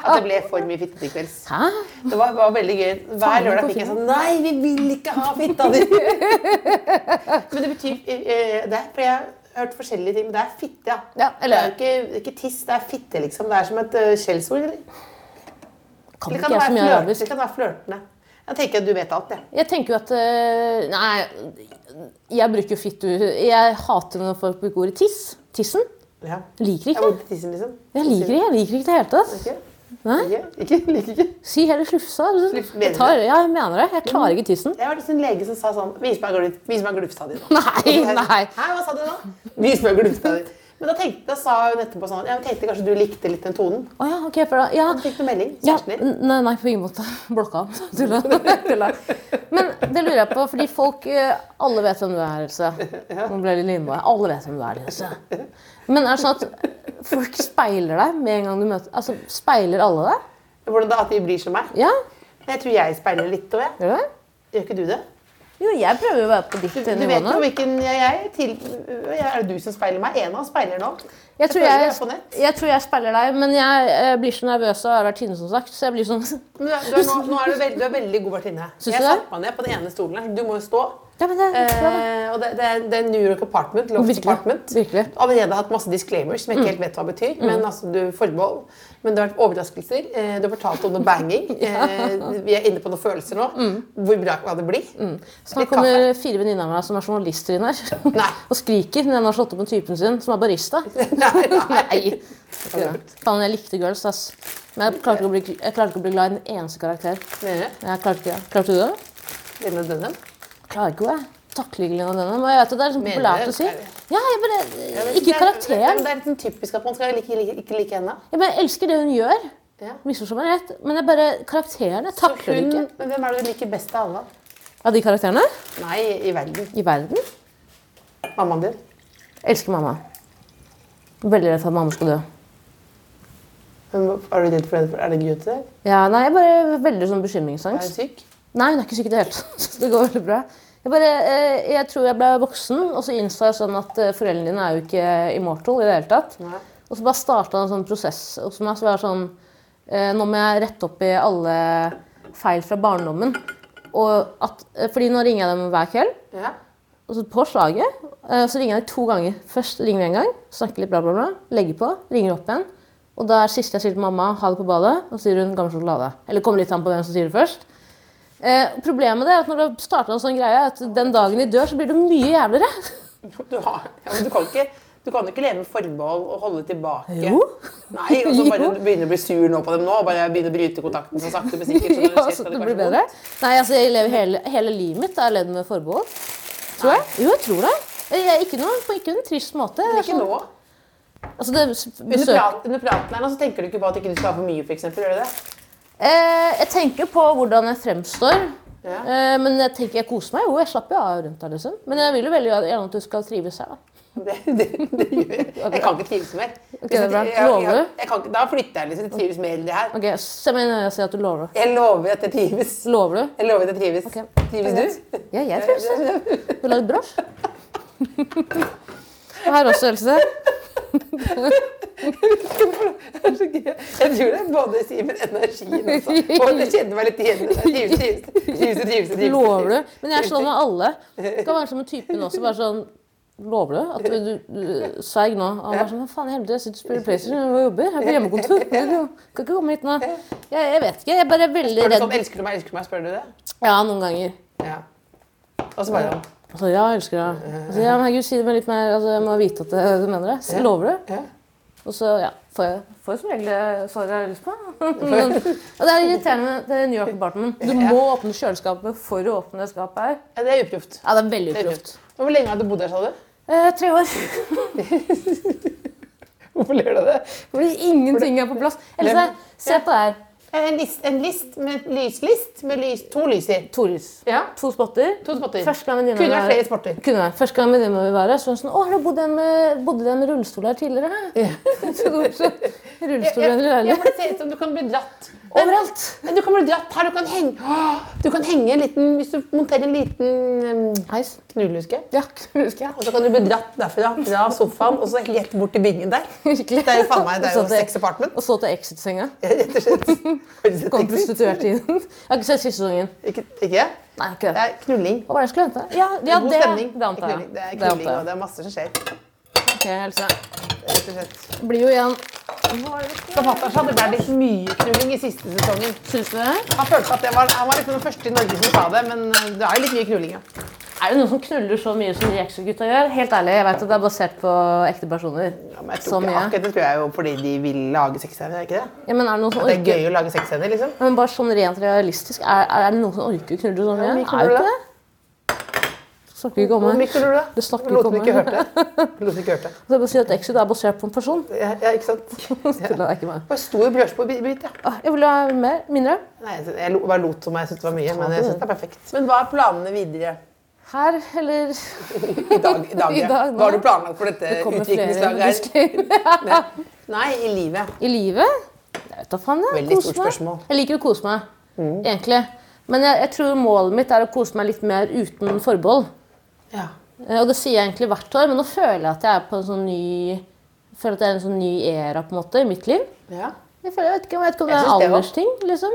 Speaker 2: At det ble for mye fitte til kvelds.
Speaker 3: Hæ?
Speaker 2: Det var, var veldig gøy. Hver
Speaker 3: Faen,
Speaker 2: lørdag
Speaker 3: hvor
Speaker 2: fikk jeg
Speaker 3: fint.
Speaker 2: sånn Nei, vi vil ikke ha fitta di! Men det betyr eh, det er, For jeg har hørt forskjellige ting. Men det er fitte, ja.
Speaker 3: Ja,
Speaker 2: Det
Speaker 3: eller
Speaker 2: er jo ikke, det er ikke tiss, det er fitte, liksom. Det er som et eh, skjellsord. Eller,
Speaker 3: kan
Speaker 2: eller kan
Speaker 3: ikke
Speaker 2: det
Speaker 3: jeg så
Speaker 2: være
Speaker 3: mye
Speaker 2: flørt-
Speaker 3: arabisk.
Speaker 2: eller kan det være flørtende? Jeg tenker at du vet alt, jeg.
Speaker 3: Jeg tenker jo at øh, Nei, jeg bruker jo fitte Jeg hater når folk bruker ordet tiss. Tissen.
Speaker 2: Ja.
Speaker 3: Liker
Speaker 2: Jeg
Speaker 3: ikke.
Speaker 2: må til tissen, liksom.
Speaker 3: Jeg liker det, jeg liker ikke det i det hele tatt.
Speaker 2: Ikke?
Speaker 3: Nei.
Speaker 2: Ikke? Ikke? Liker ikke?
Speaker 3: Si heller slufsa.
Speaker 2: Slufs-
Speaker 3: Jeg tar, ja, jeg mener det. Jeg klarer ikke tissen.
Speaker 2: Jeg var liksom en lege som sa sånn Vis meg, glup, vis meg glufsa di nå.
Speaker 3: Nei,
Speaker 2: Og så sa jeg sånn,
Speaker 3: nei.
Speaker 2: Hæ, hva sa du nå? Vis meg glufsa di. Men da tenkte, da sa hun etterpå sånn Jeg tenkte kanskje du likte litt den tonen.
Speaker 3: Å ja, ok, for da ja.
Speaker 2: Så fikk du melding.
Speaker 3: ja.
Speaker 2: Kjæresten din.
Speaker 3: Nei, nei, på ingen måte. Blokka han. Tulla. Tulla. Men det lurer jeg på, fordi folk eh, Alle vet hvem du er, Else. Nå ble jeg litt innpå. Alle vet hvem du er, Else. Men er det sånn at folk speiler deg med en gang du møter Altså, speiler alle deg?
Speaker 2: Hvordan da at de blir som meg?
Speaker 3: Ja?
Speaker 2: Men Jeg tror jeg speiler litt òg, jeg.
Speaker 3: Gjør du det?
Speaker 2: Gjør ikke du det?
Speaker 3: Jo, jeg prøver jo å være på
Speaker 2: Du,
Speaker 3: ditt
Speaker 2: du
Speaker 3: nivå
Speaker 2: vet
Speaker 3: nå.
Speaker 2: jo hvilken jeg er. Til, jeg er det du som speiler meg? En av oss speiler nå.
Speaker 3: Jeg tror
Speaker 2: føler
Speaker 3: jeg,
Speaker 2: er på nett.
Speaker 3: jeg tror jeg speiler deg, men jeg eh, blir så nervøs av å være vertinne, som sagt. Så jeg blir sånn
Speaker 2: Men du er, du er, nå, nå er du, veld, du er veldig god vertinne.
Speaker 3: Syns
Speaker 2: Jeg
Speaker 3: du det?
Speaker 2: satte meg ned på den ene stolen her. Du må jo stå.
Speaker 3: Ja, men det,
Speaker 2: Eh, og det, det, er, det er New York Apartment. Loft
Speaker 3: Virkelig,
Speaker 2: Apartment.
Speaker 3: virkelig. Mm.
Speaker 2: Allerede hatt masse disclaimers som jeg ikke helt vet hva betyr. Men altså, du forbehold. Men det har vært overraskelser. Eh, du har fortalt om noe banging. Eh, vi er inne på noen følelser nå.
Speaker 3: Mm.
Speaker 2: Hvor bra kan det bli?
Speaker 3: Snart kommer fire venninner av meg som er journalister inn her.
Speaker 2: Nei.
Speaker 3: Og skriker når den har slått opp med typen sin, som er barista.
Speaker 2: Nei, nei.
Speaker 3: Nei. Faen, jeg likte girls, ass. Men jeg klarte ikke å bli, jeg klarte ikke å bli glad i en eneste karakter.
Speaker 2: Dere,
Speaker 3: Jeg klarte ikke det. Klarte du det?
Speaker 2: Lene Dunham.
Speaker 3: Klarer ikke jeg. Takler ikke Lina denne. Men jeg vet at det er sånn
Speaker 2: Mener
Speaker 3: populært
Speaker 2: du?
Speaker 3: å si.
Speaker 2: Er det?
Speaker 3: Ja,
Speaker 2: Ja,
Speaker 3: jeg bare
Speaker 2: men
Speaker 3: Ikke
Speaker 2: Det er,
Speaker 3: karakteren.
Speaker 2: det er litt sånn typisk at man skal like, like, ikke like henne.
Speaker 3: Jeg bare elsker det hun gjør.
Speaker 2: Ja.
Speaker 3: Misforstå meg rett. Men jeg bare Karakteren. Jeg takler det
Speaker 2: Hun,
Speaker 3: ikke.
Speaker 2: men hvem er det du liker best av alle?
Speaker 3: Av de karakterene
Speaker 2: Nei, i verden.
Speaker 3: i verden
Speaker 2: Mammaen din.
Speaker 3: elsker mamma. Veldig redd for at mamma skal dø.
Speaker 2: Hun, er du redd for henne? Er det grunn til det?
Speaker 3: Ja, nei, jeg bare er veldig sånn
Speaker 2: Er hun
Speaker 3: bekymringsangst.
Speaker 2: syk?
Speaker 3: Nei, hun er ikke syk i det hele tatt. Det går veldig bra. Jeg, bare, eh, jeg tror jeg ble voksen, og så innså jeg sånn at eh, foreldrene dine er jo ikke immortal i det hele tatt.
Speaker 2: Nei.
Speaker 3: Og så bare starta en sånn prosess hos meg. Så var jeg sånn eh, Nå må jeg rette opp i alle feil fra barndommen. Og at, eh, fordi nå ringer jeg dem hver kveld.
Speaker 2: Ja.
Speaker 3: Og så på slaget eh, så ringer jeg to ganger. Først ringer jeg en gang, snakker litt bla, bla, bla, legger på, ringer opp igjen. Og da er det siste jeg sier til mamma, ha det på badet, og så sier hun gammel sjokolade. Eller kommer litt an på hvem som sier det først. Eh, problemet det er at når du har starta en sånn greie, er at den dagen de dør, så blir du mye jævligere.
Speaker 2: Du, har, ja, men du kan ikke du kan jo ikke leve med forbehold og holde tilbake.
Speaker 3: Jo.
Speaker 2: Nei, og så bare
Speaker 3: Jo.
Speaker 2: begynne å bli sur nå på dem nå. og Bare begynne å bryte kontakten så sakte, men sikkert. Så når
Speaker 3: Ja,
Speaker 2: det skjer,
Speaker 3: så
Speaker 2: skal
Speaker 3: det
Speaker 2: det
Speaker 3: blir
Speaker 2: kanskje
Speaker 3: bedre. Nei, altså, jeg lever hele, hele livet mitt er levd med forbehold. Tror jeg. Jo, jeg tror det. Eh, Jeg er ikke noe, på ikke en trist måte.
Speaker 2: vondt. Men Ikke nå.
Speaker 3: Altså, det
Speaker 2: Under,
Speaker 3: besøk-
Speaker 2: prat, under praten her nå så tenker du ikke på at ikke du skal ha for mye, for eksempel, Gjør du det?
Speaker 3: Eh, jeg tenker på hvordan jeg fremstår.
Speaker 2: Ja.
Speaker 3: Eh, men jeg tenker jeg koser meg jo. Jeg slapper jo av rundt der, liksom. Men jeg vil jo veldig gjerne at du skal trives her, da.
Speaker 2: Det, det, det gjør jeg. Jeg kan ikke trives mer.
Speaker 3: det er bra.
Speaker 2: Jeg- jeg-
Speaker 3: Lover du?
Speaker 2: jeg kan ikke- Da flytter jeg liksom. Jeg trives mer i det her.
Speaker 3: Ok, Se meg inn i øynene og si at du lover.
Speaker 2: Jeg lover at jeg trives.
Speaker 3: Lover du?
Speaker 2: Jeg lover at jeg trives.
Speaker 3: Ok.
Speaker 2: Trives du?
Speaker 3: Ja, jeg trives. Du lager brosj. Og her også, Else.
Speaker 2: Jeg tror det er både Simen og energien også. Og jeg kjenner meg litt igjen. i det. Trives, trives, trives, trives, trives.
Speaker 3: Lover du? Men jeg er sånn med alle. Du kan være sånn med typen også. bare sånn, Lover du at du, du, du sverg nå? Og Han var sånn, hva faen i helvete, jeg sitter og spiller PlayStation og jobber. Jeg er på hjemmekontor. Jeg kan ikke komme hit nå. Jeg, jeg vet ikke. Jeg bare er veldig
Speaker 2: Spør du
Speaker 3: redd.
Speaker 2: sånn, elsker du meg, elsker du meg, spør du det?
Speaker 3: Ja, noen ganger.
Speaker 2: Ja. Og så bare sånn,
Speaker 3: Altså, ja, jeg elsker deg. Altså, ja, men herregud, si det med litt mer altså, Jeg må vite at det- du mener det. Så,
Speaker 2: Ja.
Speaker 3: lover du?
Speaker 2: Ja.
Speaker 3: Og så ja, får jeg får jeg som regel det svaret jeg har lyst på. Men, og det er irriterende med det New York Apartment. Du må åpne kjøleskapet for å åpne det skapet her.
Speaker 2: Ja, det er uproft.
Speaker 3: Ja, det er veldig
Speaker 2: Det er
Speaker 3: uproft.
Speaker 2: Hvor lenge har du bodd her, sa du?
Speaker 3: Eh, tre år.
Speaker 2: Hvorfor ler du av det?
Speaker 3: Fordi ingenting er på plass. Else, se på det her.
Speaker 2: Eh, En list, en list med lyslist med lys, to lys i.
Speaker 3: Torjus.
Speaker 2: Ja.
Speaker 3: To spotter.
Speaker 2: To spotter.
Speaker 3: Første gang venninna
Speaker 2: Kunne vært
Speaker 3: var-
Speaker 2: flere spotter.
Speaker 3: Kunne vært. Første gang venninna mi var her, så var hun sånn 'Å, har du bodd en med, bodde det en med rullestol her tidligere?' Ja. så det var så rullestol i en
Speaker 2: Ja,
Speaker 3: leilighet.
Speaker 2: for det ser ut som du kan bli dratt.
Speaker 3: Overalt.
Speaker 2: Men du kan bli dratt her. Du kan henge, Åh, du kan henge en liten Hvis du monterer en liten um,
Speaker 3: Heis.
Speaker 2: knullehuske.
Speaker 3: Ja, husker jeg.
Speaker 2: Og så kan du bli dratt derfra, fra sofaen, og så rett bort til bingen der.
Speaker 3: Virkelig.
Speaker 2: Det er jo faen meg, det er jo
Speaker 3: Og så til-
Speaker 2: sex apartment.
Speaker 3: Og så til Exit-senga.
Speaker 2: Rett og slett. Har du sett
Speaker 3: Kom
Speaker 2: Exit?
Speaker 3: prostituert inn. Jeg har ikke sett siste sesongen.
Speaker 2: Ikke, ikke?
Speaker 3: Nei, ikke
Speaker 2: Det
Speaker 3: det.
Speaker 2: er knulling.
Speaker 3: Hva var det jeg skulle hente? Ja, ja
Speaker 2: God
Speaker 3: det,
Speaker 2: stemning.
Speaker 3: det antar jeg.
Speaker 2: Knulling. Det er
Speaker 3: Det
Speaker 2: knulling,
Speaker 3: antar
Speaker 2: og
Speaker 3: jeg.
Speaker 2: det er masse som skjer.
Speaker 3: Ok, Else.
Speaker 2: Rett og slett.
Speaker 3: Det blir jo igjen
Speaker 2: Så Fattar sa det ble litt mye knulling i siste sesongen.
Speaker 3: Syns du det?
Speaker 2: Han følte at det var, han var liksom den første i Norge som sa det, men eh, det er jo litt mye knulling, ja.
Speaker 3: Er det noen som knuller så mye som de Exit-gutta gjør? Helt ærlig, jeg vet at det er basert på ekte personer.
Speaker 2: Ja, men jeg
Speaker 3: Så
Speaker 2: tror ikke,
Speaker 3: mye.
Speaker 2: akkurat det tror jeg jo fordi de vil lage sexscener, er det ikke det?
Speaker 3: Ja, men er det noen som
Speaker 2: Det er
Speaker 3: orker
Speaker 2: gøy å lage sexscener, liksom.
Speaker 3: men bare sånn rent realistisk, er, er det noen som orker å knulle så mye?
Speaker 2: Ja, men
Speaker 3: er det
Speaker 2: knuller
Speaker 3: ikke det? Snakker vi ikke om
Speaker 2: Hvor mye
Speaker 3: det.
Speaker 2: knuller du, da?
Speaker 3: Det snakker vi
Speaker 2: Lot
Speaker 3: ikke om
Speaker 2: som ikke
Speaker 3: her.
Speaker 2: hørte. Lot som ikke hørte.
Speaker 3: Så jeg bare sier at Exit er basert på en person.
Speaker 2: Ja, ja, ikke sant?
Speaker 3: Det er ikke meg.
Speaker 2: Det var stor brødskive, ja.
Speaker 3: Ah, Jeg vil ha mer. Mindre.
Speaker 2: Nei, jeg- jeg lo- bare lot som jeg syntes det var mye, men jeg
Speaker 3: det.
Speaker 2: synes det er perfekt. Men hva er planene videre
Speaker 3: Her, eller
Speaker 2: Eh, i dag? I dag,
Speaker 3: I
Speaker 2: ja?
Speaker 3: dag, nå?
Speaker 2: hva har du planlagt for dette
Speaker 3: Det kommer flere
Speaker 2: utviklingslaget her?
Speaker 3: disclaimer.
Speaker 2: Nei, i livet.
Speaker 3: I livet? Jeg vet da faen. Jeg
Speaker 2: Veldig
Speaker 3: koser
Speaker 2: stort spørsmål. Mm.
Speaker 3: Meg. Jeg liker å kose meg, egentlig. Men jeg, jeg tror målet mitt er å kose meg litt mer uten forbehold.
Speaker 2: Ja.
Speaker 3: Eh, Og det sier jeg egentlig hvert år, men nå føler jeg at jeg er på en sånn ny føler at det er en sånn ny era på en måte i mitt liv.
Speaker 2: ja.
Speaker 3: Jeg, føler, jeg vet ikke, jeg vet ikke om
Speaker 2: Jeg
Speaker 3: det er
Speaker 2: synes det
Speaker 3: en
Speaker 2: var-
Speaker 3: aldersting, liksom.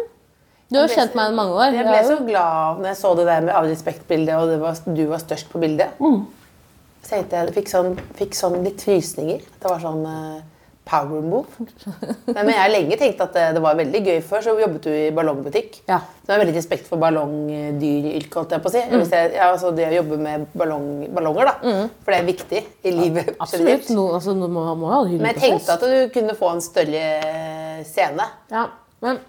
Speaker 3: Du har jo
Speaker 2: Jeg ble
Speaker 3: kjent meg i mange år.
Speaker 2: Jeg ble så glad når jeg så det der med Av respekt-bildet, og det var, du var størst på bildet. Så tenkte jeg, fikk sånn, fikk sånn litt frysninger. Det var sånn eh, power move. Nei, men jeg har lenge tenkt at eh, det, det var veldig gøy før, så jobbet du i ballongbutikk.
Speaker 3: Ja.
Speaker 2: Så jeg har veldig respekt for ballongdyryrket, holdt jeg på å si. Hvis jeg, ja, altså det å jobbe med ballong, ballonger, da. For det er viktig i livet
Speaker 3: Absolutt. No, altså, du må, må ha det hyggelig
Speaker 2: Men jeg
Speaker 3: på fest.
Speaker 2: tenkte at du kunne få en større eh, scene.
Speaker 3: Ja, men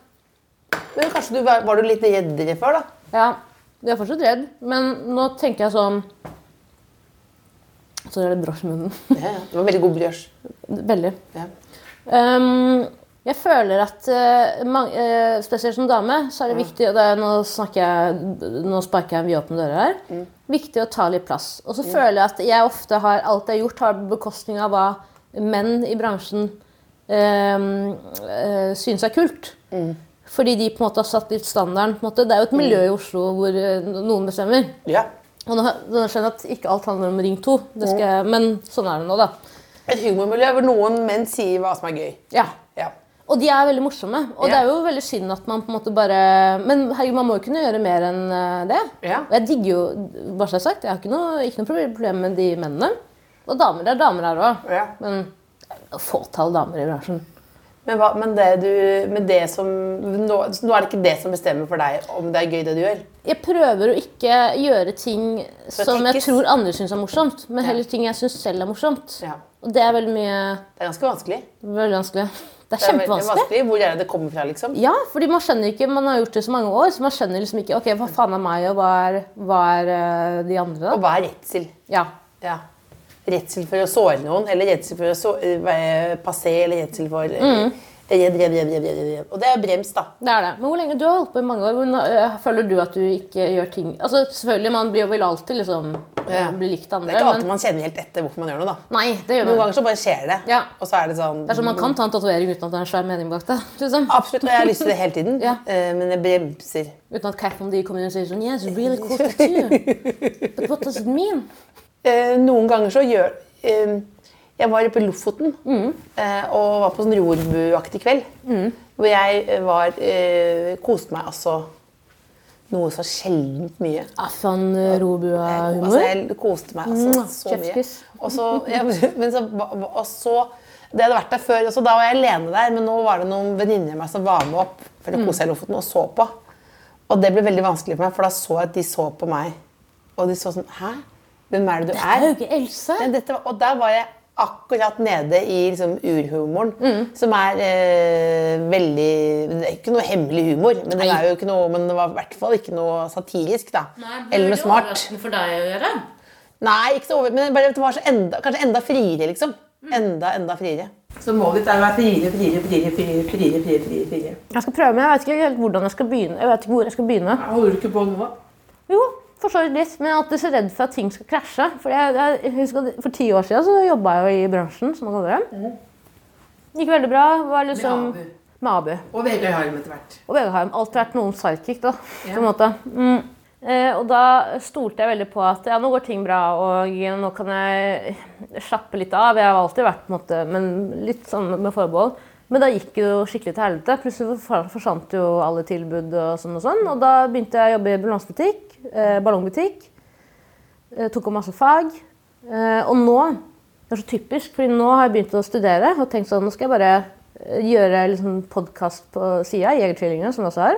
Speaker 2: Men kanskje du var, var du litt reddere før, da?
Speaker 3: Ja, jeg er fortsatt redd, men nå tenker jeg sånn Så gjør det bråsj i munnen.
Speaker 2: Ja, ja. Det var veldig god brioche.
Speaker 3: Veldig.
Speaker 2: Ja.
Speaker 3: Ehm, jeg føler at eh, mang- eh, spesielt som dame, så er det viktig og det er, nå, snakker jeg, nå sparker jeg en vidåpen dør her. Viktig å ta litt plass. Og så føler jeg at jeg ofte har alt jeg har gjort, har på bekostning av hva menn i bransjen ehm, eh, syns er kult. Fordi de på en måte har satt litt standarden. på en måte. Det er jo et miljø i Oslo hvor eh, noen bestemmer.
Speaker 2: Ja.
Speaker 3: Og nå, nå skjønner jeg at ikke alt handler om Ring 2, det skal jeg, men sånn er det nå, da.
Speaker 2: Et humormiljø hvor noen menn sier hva som er gøy.
Speaker 3: Ja.
Speaker 2: Ja.
Speaker 3: Og de er veldig morsomme. Og
Speaker 2: Ja.
Speaker 3: det er jo veldig synd at man på en måte bare Men herregud, man må jo kunne gjøre mer enn eh, det.
Speaker 2: Ja.
Speaker 3: Og jeg digger jo, bare så jeg har sagt, jeg har ikke noe, ikke noe problem med de mennene. Og damer det er damer her òg.
Speaker 2: Ja.
Speaker 3: Men det er fåtall damer i bransjen.
Speaker 2: Men, hva, men det du, men det som, nå, så nå er det ikke det som bestemmer for deg om det er gøy det du gjør.
Speaker 3: Jeg prøver å ikke gjøre ting som jeg
Speaker 2: tekkes.
Speaker 3: tror andre syns er morsomt, men
Speaker 2: Ja.
Speaker 3: heller ting jeg syns selv er morsomt.
Speaker 2: Ja.
Speaker 3: Og det er veldig mye
Speaker 2: Det er ganske vanskelig.
Speaker 3: Veldig vanskelig. Det er
Speaker 2: Det er veldig
Speaker 3: kjempevanskelig.
Speaker 2: Hvor er det det kommer fra, liksom?
Speaker 3: Ja, fordi man skjønner ikke, man har gjort det så mange år, så man skjønner liksom ikke ok, hva faen er meg, og hva er, hva er eh, de andre,
Speaker 2: Og
Speaker 3: da?
Speaker 2: hva er redsel?
Speaker 3: Ja.
Speaker 2: Ja. Redsel for å såre noen, eller redsel for å så, være passé, eller redsel for eh,
Speaker 3: Mm.
Speaker 2: Redd, redd, redd, redd, redd, redd. Og det er brems, da.
Speaker 3: Det er det. Men hvor lenge du har holdt på i mange år, hvor, eh, føler du at du ikke gjør ting Altså, selvfølgelig, man blir jo vel alltid liksom
Speaker 2: Ja.
Speaker 3: blir likt
Speaker 2: Det er
Speaker 3: andre,
Speaker 2: ikke alltid
Speaker 3: men
Speaker 2: man kjenner helt etter hvorfor man gjør noe, da.
Speaker 3: Nei, det gjør
Speaker 2: Noen
Speaker 3: man.
Speaker 2: ganger så bare skjer det.
Speaker 3: Ja.
Speaker 2: Og så er det sånn
Speaker 3: Det er sånn man kan ta en tatovering uten at det er en svær mening bak det. Liksom.
Speaker 2: Absolutt. Og jeg har lyst til det hele tiden,
Speaker 3: Ja.
Speaker 2: eh, men jeg bremser.
Speaker 3: Uten at Catherine D kommer inn og sier sånn Yes, really cool tattoo. But what does it mean?
Speaker 2: Eh, noen ganger så gjør eh, Jeg var oppe i Lofoten eh, og var på sånn rorbuaktig kveld. Hvor jeg eh, var eh, Koste meg altså noe så sjeldent mye.
Speaker 3: Er faen eh,
Speaker 2: Altså,
Speaker 3: robua-humor?
Speaker 2: jeg koste meg altså,
Speaker 3: Mm,
Speaker 2: så mye.
Speaker 3: chefskiss.
Speaker 2: Og så, ja, men så, og så Det hadde vært der før, og så da var jeg alene der, men nå var det noen venninner av meg som var med opp for å kose seg i Lofoten og så på. Og det ble veldig vanskelig for meg, for da så jeg at de så på meg. Og de så sånn Hæ? Hvem er det du er?
Speaker 3: Hauge Else?
Speaker 2: Men dette, var- og der var jeg akkurat nede i liksom urhumoren, som er eh, veldig Det er ikke noe hemmelig humor, men, den
Speaker 3: Nei.
Speaker 2: er jo ikke noe, men det var i hvert fall ikke noe satirisk. da. Eller noe smart.
Speaker 3: for deg å gjøre.
Speaker 2: Nei, ikke så over, men bare, det var så enda, kanskje enda friere, liksom. Enda, enda friere. Så målet ditt er å være friere, friere, friere, friere, friere, friere, friere, friere.
Speaker 3: Jeg skal prøve, men jeg vet ikke helt hvordan jeg skal begynne. Jeg vet ikke hvor jeg skal begynne.
Speaker 2: Holder du ikke på nå?
Speaker 3: Jo, for så vidt litt, men jeg er alltid så redd for at ting skal krasje. For, jeg, jeg husker, at for ti år siden så jobba jeg jo i bransjen, som man kaller det. Gikk veldig bra. Var liksom,
Speaker 2: Mhm. Med Abu.
Speaker 3: Med Abu.
Speaker 2: Og Vegard Harm etter hvert.
Speaker 3: Og Vegheim. Alltid vært noen sidekick, da. På en måte. Mm. Eh, og da stolte jeg veldig på at ja, nå går ting bra, og nå kan jeg slappe litt av. Jeg har alltid vært på en måte, men litt sånn med forbehold. Men da gikk det jo skikkelig til helvete. Plutselig for- forsvant jo alle tilbud og sånn og sånn. Og da begynte jeg å jobbe i balansebutikk, eh, ballongbutikk. Eh, tok opp masse fag. Eh, og nå Det er så typisk, fordi nå har jeg begynt å studere og tenkt sånn Nå skal jeg bare eh, gjøre liksom podkast på sida, Jegertvillingene, som jeg også har.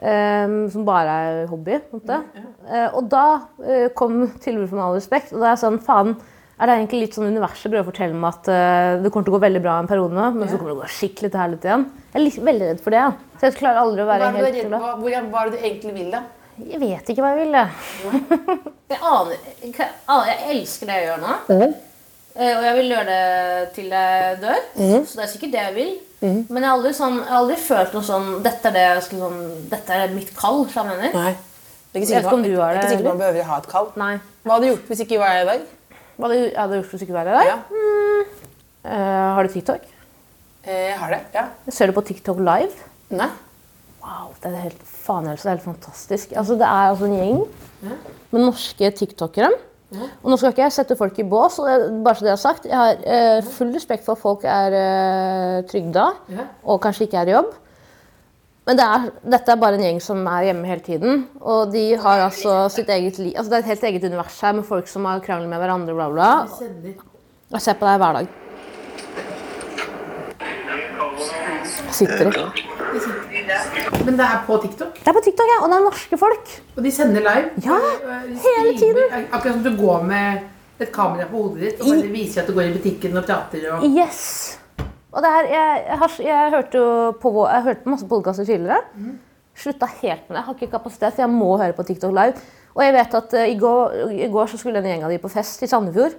Speaker 3: Eh, som bare er hobby. på en måte.
Speaker 2: Mm,
Speaker 3: Eh, og da eh, kom tilbudet med all respekt, og da er jeg sånn Faen, er det egentlig litt sånn universet prøver å fortelle meg at eh, det kommer til å gå veldig bra en periode nå, men så kommer det å gå skikkelig til helvete igjen? Jeg er litt, veldig redd for det. ja. Så jeg klarer aldri å
Speaker 2: Hva
Speaker 3: være
Speaker 2: er, det du er
Speaker 3: helt
Speaker 2: redd,
Speaker 3: glad.
Speaker 2: hva, hvor, hva er det du egentlig vil, da?
Speaker 3: Jeg vet ikke hva jeg vil. jeg. jeg aner ikke- jeg aner- Jeg elsker det jeg gjør nå. Eh, Og jeg vil gjøre det til jeg dør. Så det er sikkert det jeg vil. Men jeg har aldri, sånn, jeg har aldri følt noe sånn Dette er, det jeg skal, sånn, dette er mitt kall, sa jeg mener.
Speaker 2: Nei. Jeg er
Speaker 3: Jeg vet ikke om du har
Speaker 2: er ikke
Speaker 3: det,
Speaker 2: sikker på om man behøver å ha et kall.
Speaker 3: Nei.
Speaker 2: Hva hadde du gjort hvis ikke jeg var her i dag?
Speaker 3: Hva hadde jeg hadde gjort hvis du ikke var her i dag?
Speaker 2: Ja.
Speaker 3: Eh, har du TikTok?
Speaker 2: Eh, Jeg har det. Ja.
Speaker 3: Ser du på TikTok live?
Speaker 2: Nei.
Speaker 3: Wow, det er helt faen, Else, det er helt fantastisk. Altså, det er altså en gjeng med norske tiktokere. Og nå skal ikke jeg sette folk i bås, og det- bare så det er sagt, jeg har eh, full respekt for at folk er eh, trygda og kanskje ikke er i jobb. Men det er, dette er bare en gjeng som er hjemme hele tiden. Og de har altså sitt eget liv. Altså, det er et helt eget univers her med folk som har krangler med hverandre, bla, bla. Jeg ser på deg hver dag. Sitter ikke.
Speaker 2: Men det er på TikTok,
Speaker 3: Det er på TikTok, ja, og det er norske folk.
Speaker 2: og de sender live. eh,
Speaker 3: Ja,
Speaker 2: De
Speaker 3: hele
Speaker 2: streamer. Akkurat som du går med et kamera på hodet ditt og bare viser at du går i butikken og prater. Og...
Speaker 3: Yes! Og det her, jeg, jeg, har, jeg hørte jo på vår, jeg hørte på masse podkaster tidligere. Slutta helt med det. Jeg har ikke kapasitet, for jeg må høre på TikTok live. Og jeg vet at eh, i går, i går så skulle en gjeng av de på fest i Sandefjord.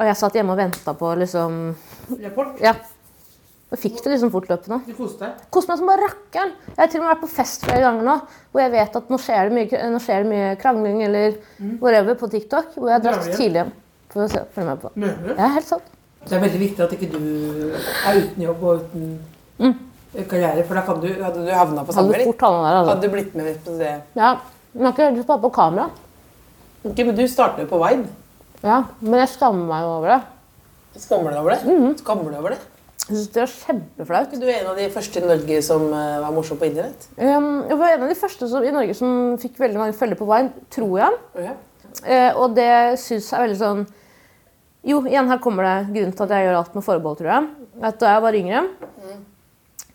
Speaker 3: Og jeg satt hjemme og venta på liksom
Speaker 2: Rapport.
Speaker 3: Ja. Og fikk det liksom fortløpende.
Speaker 2: Du koste deg.
Speaker 3: Koste meg som bare rakkeren. Jeg har til og med vært på fest flere ganger nå hvor jeg vet at nå skjer det mye, nå skjer det mye krangling eller whatever på TikTok. Hvor jeg har dratt
Speaker 2: Drar du hjem?
Speaker 3: tidlig hjem. For å se- følge med på.
Speaker 2: Mener du?
Speaker 3: Det er helt sant.
Speaker 2: Det er veldig viktig at ikke du er uten jobb og uten karriere, for da kan du, hadde du havna på samme
Speaker 3: Mm. Hadde
Speaker 2: litt.
Speaker 3: fort havna der, altså.
Speaker 2: Hadde du blitt med på det.
Speaker 3: Ja, men jeg har ikke lyst på å ha på kamera.
Speaker 2: Ok, men du starter jo på Vine.
Speaker 3: Ja, men jeg skammer meg jo over det.
Speaker 2: Skammer du deg over det?
Speaker 3: Mm.
Speaker 2: Skammer du deg over det?
Speaker 3: Jeg synes det var
Speaker 2: Er
Speaker 3: kjempeflaut.
Speaker 2: ikke du en av de første i Norge som eh, var morsom på internett?
Speaker 3: Um, jeg var en av de første som, i Norge som fikk veldig mange følgere på Vine, tror jeg. Eh, og det syns jeg er veldig sånn Jo, igjen, her kommer det grunnen til at jeg gjør alt med forbehold, tror jeg. At da jeg var yngre,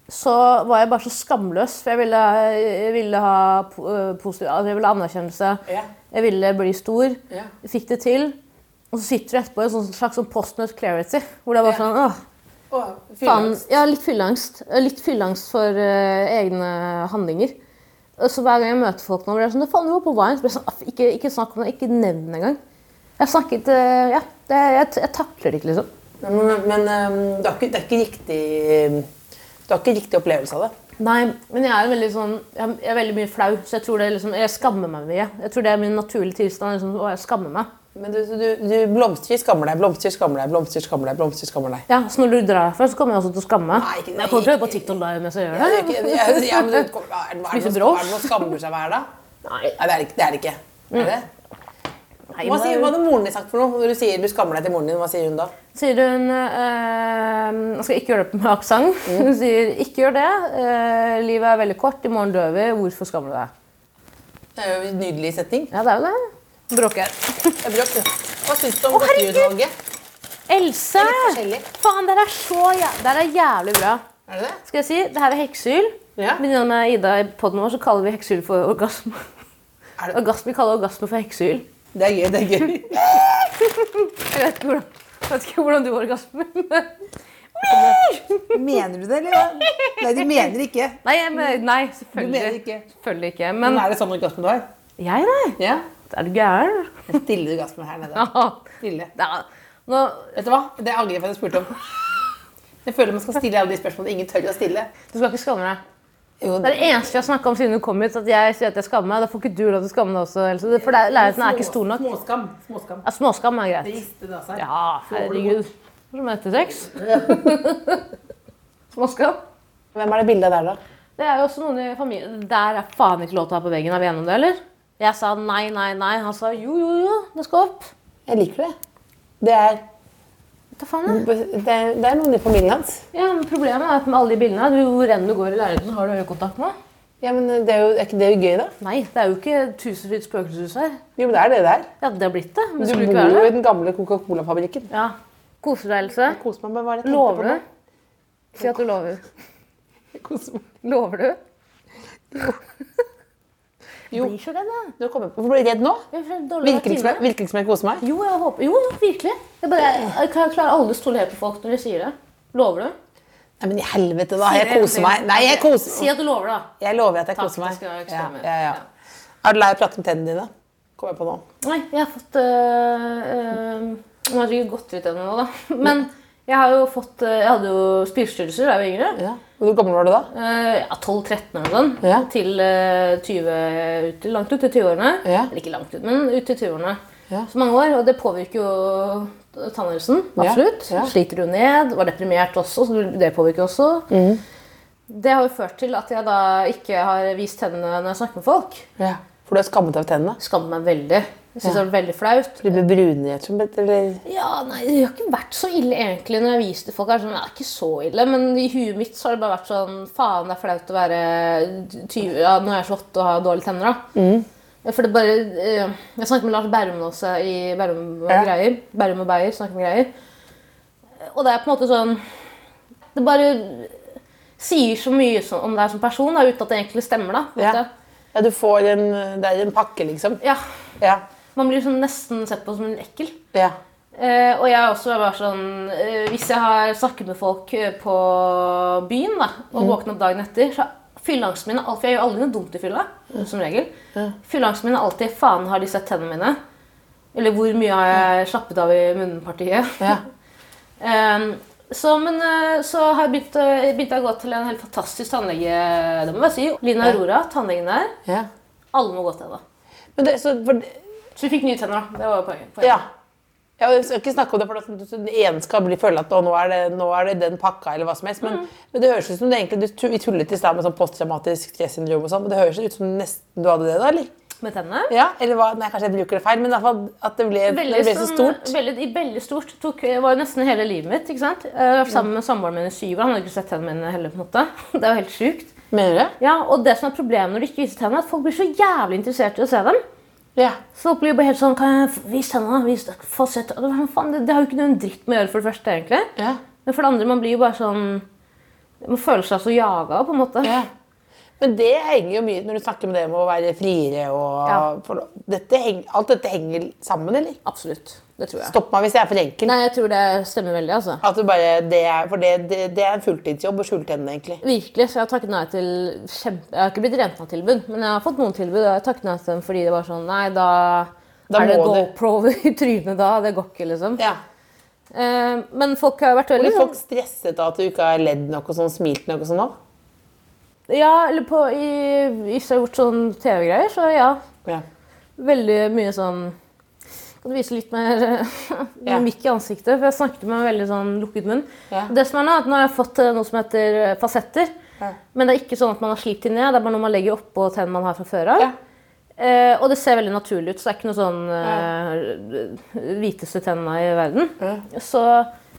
Speaker 3: så var jeg bare så skamløs. For jeg ville, jeg ville ha po- eh, positiv altså Jeg ville ha anerkjennelse.
Speaker 2: Ja.
Speaker 3: Jeg ville bli stor.
Speaker 2: Ja.
Speaker 3: Jeg fikk det til. Og så sitter du etterpå i en sånn slags sånn postnut clarity. Hvor det er bare
Speaker 2: Ja.
Speaker 3: sånn åh,
Speaker 2: Å,
Speaker 3: Faen,
Speaker 2: fylleangst.
Speaker 3: ja, litt fylleangst. Eh, Litt fylleangst for eh, egne handlinger. Og Så Hver gang jeg møter folk nå, blir jeg sånn «Du, Faen, du var på Vine. Så blir jeg sånn, «Aff, ikke, ikke snakk om det. Ikke nevn det engang. Jeg snakket eh, Ja, det, jeg, jeg takler det ikke, liksom.
Speaker 2: Men, men eh, det, er ikke, det er ikke riktig Du har ikke riktig opplevelse av det.
Speaker 3: Nei, men jeg er veldig sånn Jeg jeg er veldig mye flau, så jeg tror det er liksom Jeg skammer meg mye. Jeg tror det er min naturlige tilstand. Liksom, å, jeg skammer meg.
Speaker 2: Men du, du, du blomstrer, skammer deg, blomstrer, skammer deg, blomstrer, skammer deg. blomstrer, skammer deg.
Speaker 3: Ja, Så når du drar herfra, så kommer jeg også til å skamme meg.
Speaker 2: Nei, ikke-
Speaker 3: Jeg kommer til å
Speaker 2: nei,
Speaker 3: være på TikTok live mens jeg gjør
Speaker 2: Ja,
Speaker 3: det.
Speaker 2: det er ikke- ja, ja, men det kommer- er det noe- er
Speaker 3: Spiser
Speaker 2: det noe
Speaker 3: brød.
Speaker 2: er det noe å skammer seg hver dag?
Speaker 3: Nei,
Speaker 2: Nei, det er det ikke- det er det ikke. Er det?
Speaker 3: nei,
Speaker 2: Hva,
Speaker 3: hva-
Speaker 2: sier, hva hadde moren din sagt for noe? Når du sier du skammer deg til moren din, hva sier hun da?
Speaker 3: sier hun eh, Jeg skal ikke gjøre det med aksent. Hun sier ikke gjør det. eh, livet er veldig kort. I morgen dør vi. Hvorfor skammer du deg?
Speaker 2: Det er jo en nydelig setning.
Speaker 3: Ja, det er jo det. Bråker.
Speaker 2: Jeg blir opp- Hva syns du om
Speaker 3: Å, herregud!
Speaker 2: godteriutvalget?
Speaker 3: Else!
Speaker 2: Det er litt forskjellig.
Speaker 3: Faen, det er så jæ det her er jævlig bra.
Speaker 2: Er det det?
Speaker 3: Skal jeg si, det her er heksehyl.
Speaker 2: Ja.
Speaker 3: Venninna med Ida i podden vår så kaller vi heksehyl for orgasme.
Speaker 2: Er det-
Speaker 3: Orgasme, vi kaller orgasme for heksehyl.
Speaker 2: Det er gøy. det er gøy.
Speaker 3: Jeg vet ikke hvordan, jeg vet ikke hvordan du orgasmer. men-
Speaker 2: Mener du det, eller? hva? Nei, du mener ikke.
Speaker 3: Nei, jeg mener- nei
Speaker 2: Du
Speaker 3: selvfølgelig.
Speaker 2: mener ikke.
Speaker 3: Selvfølgelig ikke.
Speaker 2: Men
Speaker 3: Men
Speaker 2: er det sånn orgasme du har?
Speaker 3: jeg, nei.
Speaker 2: Ja.
Speaker 3: Er du gæren?
Speaker 2: Stille orgasme her nede. Stille.
Speaker 3: Ja. Nå,
Speaker 2: Vet du hva? Det angrer jeg på at jeg spurte om. Jeg føler man skal stille alle de spørsmålene ingen tør å stille.
Speaker 3: du skal ikke skamme deg.
Speaker 2: Jo,
Speaker 3: Det er det eneste vi har snakka om siden du kom hit. At jeg sier at jeg skammer meg. Da får ikke du lov til å skamme deg også. Else. Det- For det er- leiligheten er ikke stor nok.
Speaker 2: Småskam. småskam.
Speaker 3: Ja, småskam er
Speaker 2: Det
Speaker 3: greit.
Speaker 2: rister det av seg.
Speaker 3: Ja, herregud. Hva som heter sex? Småskam.
Speaker 2: Hvem er det bildet der, da?
Speaker 3: Det er jo også noen i familien Der er faen ikke lov til å ha på veggen. Er vi enige om det, eller? Jeg sa nei, nei, nei. Han sa jo, jo, jo. Det skal opp.
Speaker 2: Jeg liker det. Det er,
Speaker 3: Hva faen er det?
Speaker 2: det er, det er noen i familien hans.
Speaker 3: Ja, men Problemet er at med alle de bildene du- Hvor enn du går i leiligheten, har du øyekontakt med?
Speaker 2: Ja, men det er, jo, er ikke det jo gøy, da?
Speaker 3: Nei, det er jo ikke tusenfryd spøkelseshus her.
Speaker 2: Jo, men det er det der.
Speaker 3: Ja, det har blitt det. Men
Speaker 2: Du
Speaker 3: skulle ikke
Speaker 2: bor
Speaker 3: være
Speaker 2: jo
Speaker 3: det.
Speaker 2: i den gamle Coca-Cola-fabrikken.
Speaker 3: Ja. Koser deg, Else?
Speaker 2: Kos meg med hva jeg tenkte
Speaker 3: Lover
Speaker 2: på nå.
Speaker 3: du? Si at du lover.
Speaker 2: Kos meg.
Speaker 3: Lover du?
Speaker 2: Jo.
Speaker 3: Blir så redd, da.
Speaker 2: Du kommer på. Hvorfor blir du redd nå?
Speaker 3: Jeg blir så dårlig av
Speaker 2: Virker det som jeg-
Speaker 3: vaktine.
Speaker 2: virker det som jeg koser meg?
Speaker 3: Jo, jeg håper Jo, jo, virkelig. Jeg, bare, jeg kan- jeg klarer aldri å stole helt på folk når de sier det. Lover du?
Speaker 2: Nei, men i helvete, da. Jeg
Speaker 3: det,
Speaker 2: koser
Speaker 3: det.
Speaker 2: meg. Nei, jeg
Speaker 3: Si
Speaker 2: koser
Speaker 3: at du lover, da.
Speaker 2: Jeg lover at jeg
Speaker 3: Takk,
Speaker 2: koser meg.
Speaker 3: det skal jeg
Speaker 2: ja,
Speaker 3: stemme.
Speaker 2: ja, ja. Er du lei av å prate om tennene dine? Kommer jeg på nå.
Speaker 3: Nei, jeg har fått øh, øh, Nå har jeg ikke gått ut ennå, da. Men jeg har jo fått øh, Jeg hadde jo spiseforstyrrelser da jeg var yngre.
Speaker 2: Ja. Hvor gammel var du da?
Speaker 3: Eh, ja, 12-13 eller sånn.
Speaker 2: Ja.
Speaker 3: Til eh, 20, ut, langt ut til 20-årene.
Speaker 2: Ja.
Speaker 3: Eller ikke langt ut, men ut til 20-årene.
Speaker 2: Ja.
Speaker 3: Så mange år, og det påvirker jo tannhelsen.
Speaker 2: Ja,
Speaker 3: Absolutt.
Speaker 2: ja.
Speaker 3: Sliter jo ned. Var deprimert også, så det påvirker også.
Speaker 2: Mm.
Speaker 3: Det har jo ført til at jeg da ikke har vist tennene når jeg snakker med folk.
Speaker 2: Ja. For du har skammet deg av tennene?
Speaker 3: Skammer meg veldig. Jeg synes det er veldig flaut.
Speaker 2: Du blir brunere, rett og slett, eller?
Speaker 3: Ja, nei, Det har ikke vært så ille egentlig når jeg viser til folk. Er det sånn, det er ikke så ille, Men i huet mitt så har det bare vært sånn Faen, det er flaut å være 20, ja, Nå er jeg 28 og har dårlige tenner. da
Speaker 2: Mm.
Speaker 3: For det bare eh, Jeg snakket med Lars Berrum også i Berrum og
Speaker 2: Ja.
Speaker 3: greier. Berrum og Beyer snakker med greier. Og det er på en måte sånn Det bare sier så mye som- om deg som person, da, uten at det egentlig stemmer. da på en
Speaker 2: Ja.
Speaker 3: måte.
Speaker 2: ja, du får en Det er en pakke, liksom.
Speaker 3: ja,
Speaker 2: Ja.
Speaker 3: Man blir sånn nesten sett på som en ekkel.
Speaker 2: ja.
Speaker 3: Eh, og jeg er også bare sånn eh, Hvis jeg har snakket med folk eh, på byen da, og
Speaker 2: Mm.
Speaker 3: våkner opp dagen etter, så er fylleangsten min alt- For jeg gjør aldri noe dumt i fylla, som regel. Fylleangsten min er alltid 'faen, har de sett tennene mine?' Eller 'hvor mye har jeg slappet av i munnpartiet?'
Speaker 2: ja.
Speaker 3: Ehm, så, men, eh, så har jeg begynt, å- begynte jeg å gå til en helt fantastisk tannlege, det må jeg bare si. Lina Aurora, tannlegen der.
Speaker 2: ja.
Speaker 3: Alle må gå til henne.
Speaker 2: Men det, så, for,
Speaker 3: Så vi fikk nye tenner, da. Det var poenget. poenget.
Speaker 2: ja. Ja, Jeg skal ikke snakke om det, for at du- den ene skal bli føle at å, nå, er det, nå er det den pakka, eller hva som helst. Men, men det høres ut som det egentlig, du, tu- vi tullet i stad med sånn posttraumatisk stressyndrom og sånn, men det høres ut som nesten du hadde det da, eller?
Speaker 3: Med tennene.
Speaker 2: Ja, eller hva? Nei, kanskje jeg bruker det feil, men i hvert fall at det ble, det ble så
Speaker 3: sånn-
Speaker 2: stort.
Speaker 3: Veldig, veldig stort. Tok, det var jo nesten hele livet mitt. ikke sant? Eh, Jeg var sammen med samboeren min i syv år. Han hadde ikke sett tennene mine heller. på en måte. Det er jo helt sjukt.
Speaker 2: Mener du det?
Speaker 3: Ja, Og det som er problemet når du ikke viser tennene, er at folk blir så jævlig interessert i å se dem.
Speaker 2: Ja.
Speaker 3: Så folk blir jo bare helt sånn Kan jeg f- vise tennene? Vis, få se tennene?» Hva faen, det, det har jo ikke noen dritt med å gjøre, for det første, egentlig.
Speaker 2: ja.
Speaker 3: Men for det andre, man blir jo bare sånn Man føler seg så jaga, på en måte.
Speaker 2: ja. Men det henger jo mye når du snakker med det med å være friere og
Speaker 3: Ja.
Speaker 2: for, dette heng, Alt dette henger sammen, eller?
Speaker 3: Absolutt. Det tror jeg.
Speaker 2: Stopp meg hvis jeg er for enkel.
Speaker 3: Nei, jeg tror det stemmer veldig, altså.
Speaker 2: At du bare, det er, for det, det, det er en fulltidsjobb å skjule tennene, egentlig.
Speaker 3: Virkelig, så jeg har takket nei til kjempe... Jeg har ikke blitt rent av tilbud, men jeg har fått noen tilbud. Og jeg har takket nei til dem fordi det var sånn Nei, da,
Speaker 2: Da
Speaker 3: er det
Speaker 2: må du.
Speaker 3: GoPro i trynet da. Det går ikke, liksom.
Speaker 2: Ja.
Speaker 3: Eh, men folk har jo vært veldig
Speaker 2: Blir folk
Speaker 3: sånn
Speaker 2: stresset av at du ikke har ledd nok og sånn, smilt nok og sånn òg?
Speaker 3: Ja, eller på i, Hvis jeg har gjort sånn TV-greier, så ja.
Speaker 2: Ja.
Speaker 3: Veldig mye sånn Kan du vise litt mer
Speaker 2: Ja.
Speaker 3: mikk i ansiktet? For jeg snakket med en veldig sånn lukket munn.
Speaker 2: Ja.
Speaker 3: Det som er nå, er at nå har jeg fått eh, noe som heter eh, fasetter.
Speaker 2: Ja.
Speaker 3: Men det er ikke sånn at man har slipt de ned, det er bare noe man legger oppå tennene man har fra før av.
Speaker 2: Ja.
Speaker 3: Eh, og det ser veldig naturlig ut, så det er ikke noe sånn eh, hviteste tennene i verden. Så,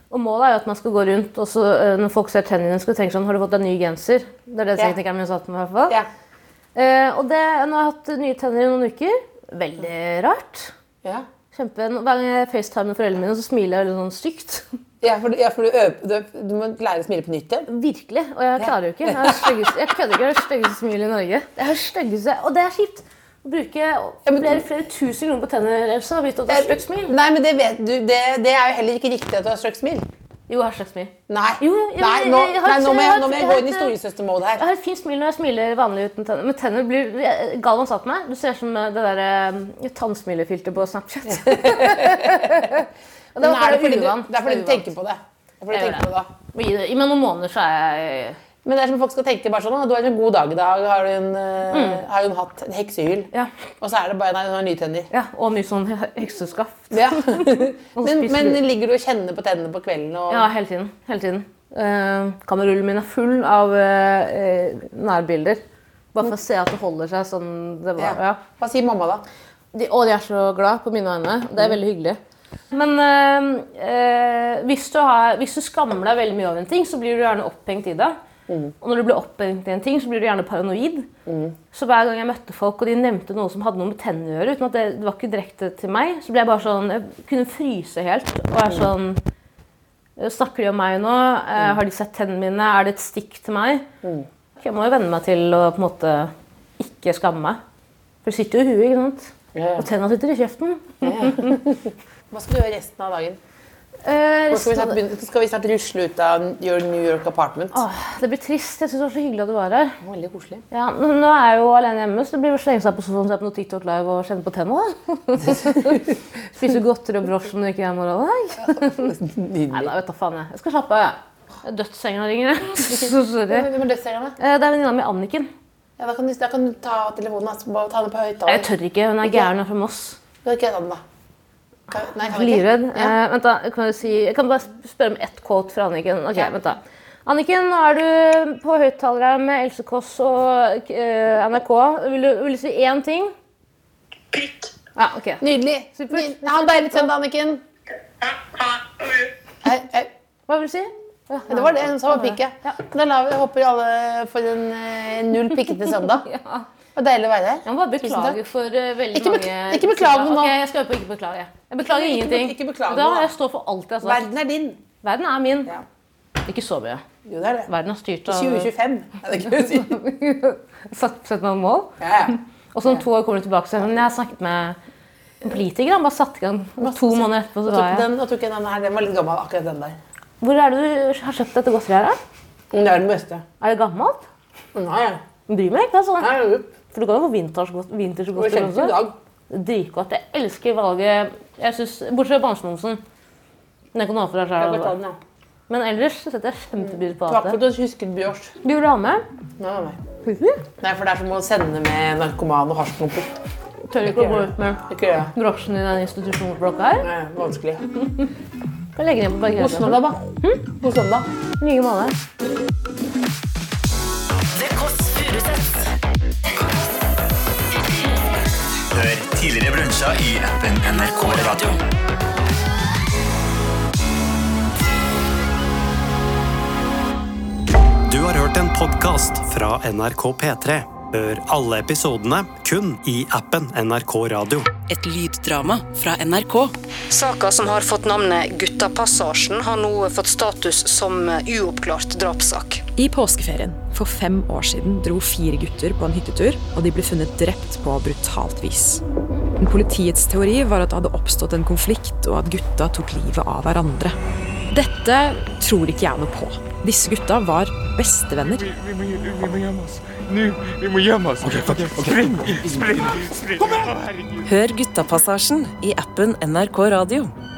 Speaker 3: og målet er jo at man skal gå rundt, og så eh, når folk ser tennene dine, skal de tenke sånn Har du fått deg ny genser? Det er det
Speaker 2: Ja.
Speaker 3: teknikeren min sa til meg, i hvert fall.
Speaker 2: Ja.
Speaker 3: Eh, og det, nå har jeg hatt nye tenner i noen uker. Veldig rart.
Speaker 2: Ja.
Speaker 3: Kjempe, Hver gang jeg facetimer med foreldrene mine, så smiler jeg veldig sånn stygt.
Speaker 2: Ja, for, du- ja, for du, øver, du, du må lære å smile på nytt igjen.
Speaker 3: Virkelig. Og jeg klarer jo ikke. Jeg, har det styggeste- jeg kødder ikke. Jeg har det styggeste smilet i Norge. Jeg har det styggeste, Og det er kjipt. Å bruke flere, flere tusen kroner på tenner, Elsa, og vite at du har stygt smil.
Speaker 2: Nei, men det vet du. Det, det er jo heller ikke riktig at du har strøkt smil.
Speaker 3: Jo, jeg har stygt smil.
Speaker 2: Nei,
Speaker 3: Jo, jo, jo,
Speaker 2: nei,
Speaker 3: jeg-
Speaker 2: nå,
Speaker 3: jeg har
Speaker 2: nei,
Speaker 3: ikke-
Speaker 2: nå må jeg,
Speaker 3: jeg har
Speaker 2: nå må jeg
Speaker 3: ikke-
Speaker 2: gå
Speaker 3: jeg
Speaker 2: inn i
Speaker 3: har ikke-
Speaker 2: storesøstermode her.
Speaker 3: Jeg har et fint smil når jeg smiler vanlig uten tenner. Men tenner blir jeg- Galvan sa til meg Du ser ut som eh, det derre eh, tannsmilefilteret på Snapchat. Og det
Speaker 2: Men
Speaker 3: var
Speaker 2: er
Speaker 3: bare
Speaker 2: det fordi du,
Speaker 3: uvant.
Speaker 2: det er fordi du
Speaker 3: uvant.
Speaker 2: tenker på det. Det er fordi du
Speaker 3: Jeg gjør
Speaker 2: tenker på det.
Speaker 3: Men Gi det. Gi meg noen måneder, så er jeg
Speaker 2: Men det er som folk skal tenke bare sånn, «Å, du har en god dag i dag, har du en, eh,
Speaker 3: Mm.
Speaker 2: har du en hatt, en heksehyl.
Speaker 3: Ja.
Speaker 2: Og så er det bare, nei, hun har nytenner.
Speaker 3: ja og mye sånn hekseskaft.
Speaker 2: Ja. men,
Speaker 3: spiser
Speaker 2: men
Speaker 3: du.
Speaker 2: ligger du og kjenner på tennene på kvelden? Og,
Speaker 3: Ja, hele tiden. Hele tiden. Eh, Kamerullen min er full av eh, eh, nærbilder. Bare for å se at det holder seg sånn det var. Ja.
Speaker 2: Hva sier mamma da?
Speaker 3: De, og de er så glad på mine vegne. Det er veldig hyggelig. Mm. Men eh, eh, hvis, du har, hvis du skammer deg veldig mye over en ting, så blir du gjerne opphengt i det. Og når du blir opphengt i en ting, så blir du gjerne paranoid. Så hver gang jeg møtte folk, og de nevnte noe som hadde noe med tennene å gjøre, uten at det, det var ikke direkte til meg, så ble jeg bare sånn Jeg kunne fryse helt. Og er sånn Snakker de om meg nå? Eh, Har de sett tennene mine? Er det et stikk til meg? Ok, Jeg må jo venne meg til å på en måte ikke skamme meg. For det sitter jo i huet, ikke sant? Og tenna sitter i kjeften.
Speaker 2: Hva skal du gjøre resten av dagen?
Speaker 3: Eh,
Speaker 2: Nå skal vi
Speaker 3: resten av
Speaker 2: snart,
Speaker 3: det-
Speaker 2: begynne, skal vi snart rusle ut av your New York apartment.
Speaker 3: Åh, det blir trist. Jeg syns det var så hyggelig at du var her.
Speaker 2: Veldig koselig.
Speaker 3: Ja, men nå er jeg jo alene hjemme, så det blir å slenge seg på sofaen, se på noe TikTok Live og kjenne på tenna. da. Spise godteri og brosj som du ikke er i morgen. Nei, Nei
Speaker 2: Nydelig.
Speaker 3: da vet da faen jeg. Jeg skal slappe av, jeg. Det er Dødssenga ringer. jeg. Så sorry.
Speaker 2: Hvem er dødseierne?
Speaker 3: Eh, Det er venninna mi Anniken.
Speaker 2: Ja, da, kan du, da kan du ta telefonen altså, bare ta den på
Speaker 3: Jeg
Speaker 2: høyttaler.
Speaker 3: tør ikke. Hun er gæren hun er fra Moss.
Speaker 2: Kan ikke jeg ta den, da? Kan, nei, kan jeg ikke?
Speaker 3: Livredd. Eh, vent, da. Kan jeg, si, jeg kan bare spørre om ett quote fra Anniken. Ok, vent da. Anniken, nå er du på høyttalere med Else Kåss og eh, NRK. Vil du, vil du si én ting?
Speaker 1: Prikk.
Speaker 3: Ja, ok.
Speaker 2: Nydelig. Nydelig. Ha en deilig søndag, Anniken.
Speaker 1: Ha, ha, og-
Speaker 2: Hei, hei.
Speaker 3: Hva vil du si? Ja,
Speaker 2: Det var det hun sa var pikket.
Speaker 3: Ja.
Speaker 2: Da la vi, håper alle får en eh, null pikkete søndag.
Speaker 3: Ja.
Speaker 2: Det var deilig å være her.
Speaker 3: Jeg må bare
Speaker 2: Tusen
Speaker 3: beklage
Speaker 2: takk.
Speaker 3: for eh, veldig
Speaker 2: Ikke bek-
Speaker 3: mange
Speaker 2: ikke beklage nå.
Speaker 3: Ok, jeg skal øve på å ikke beklage. Jeg beklager
Speaker 2: Ikke- ikke
Speaker 3: ingenting.
Speaker 2: be- ikke beklage
Speaker 3: da,
Speaker 2: nå, da.
Speaker 3: jeg står for alt jeg har sagt.
Speaker 2: Verden er din.
Speaker 3: Verden er min.
Speaker 2: Ja.
Speaker 3: Ikke så mye.
Speaker 2: Jo, det er det.
Speaker 3: Verden er styrt av
Speaker 2: 2025. Ja, det kan du si.
Speaker 3: Satt, satt noen mål.
Speaker 2: Ja, ja.
Speaker 3: Og så om to år kommer du tilbake og sier Men jeg har snakket med en politiker. Han bare satte i gang. Og To måneder etterpå
Speaker 2: Nå
Speaker 3: så var
Speaker 2: tok,
Speaker 3: jeg
Speaker 2: den, nå tok jeg denne her. Den var litt gammel, akkurat den der.
Speaker 3: Hvor er det du har kjøpt dette godteriet her? da?
Speaker 2: Men det er den beste.
Speaker 3: Er det gammelt?
Speaker 2: Nei,
Speaker 3: Jeg Bryr meg ikke, altså.
Speaker 2: nei, nei.
Speaker 3: For du kan jo få vintage-
Speaker 2: Det
Speaker 3: vintage-godteri
Speaker 2: kjente i
Speaker 3: også.
Speaker 2: dag.
Speaker 3: Dritgodt. Jeg elsker valget. Jeg synes, Bortsett fra bamsemumsen. Den kan du ha for deg
Speaker 2: Jeg får ta
Speaker 3: selv. altså.
Speaker 2: den, ja.
Speaker 3: Men ellers så setter jeg kjempepris på
Speaker 2: Takk
Speaker 3: alt
Speaker 2: for
Speaker 3: det.
Speaker 2: at du husket Bjørs.
Speaker 3: Du vil ha med?
Speaker 2: Nei, nei, nei.
Speaker 3: Tør
Speaker 2: Nei, for det er som å sende med narkoman og hasjklumper.
Speaker 3: ikke å gå ut med
Speaker 2: Ikke gjør jeg.
Speaker 3: brosjen i den institusjonsblokka her.
Speaker 2: Nei, vanskelig.
Speaker 3: Jeg legger den på
Speaker 2: God
Speaker 3: bageriet.
Speaker 2: søndag, da. God søndag.
Speaker 3: Nye måneder.
Speaker 6: The Kåss Furuseths.
Speaker 7: Hør tidligere brunsja i appen NRK Radio.
Speaker 8: Du har hørt en podkast fra NRK P3. Hør alle episodene kun i appen NRK Radio.
Speaker 9: Et lyddrama fra NRK.
Speaker 10: Saka som har fått navnet Guttapassasjen, har nå fått status som uoppklart drapssak.
Speaker 11: I påskeferien for fem år siden dro fire gutter på en hyttetur, og de ble funnet drept på brutalt vis. Men Politiets teori var at det hadde oppstått en konflikt, og at gutta tok livet av hverandre. Dette tror ikke jeg noe på. Disse gutta var bestevenner.
Speaker 12: Vi må, vi må gjemme oss. Nå, vi må gjemme oss. Spring, spring, spring. Å, herregud.
Speaker 9: Hør Guttapassasjen i appen NRK Radio.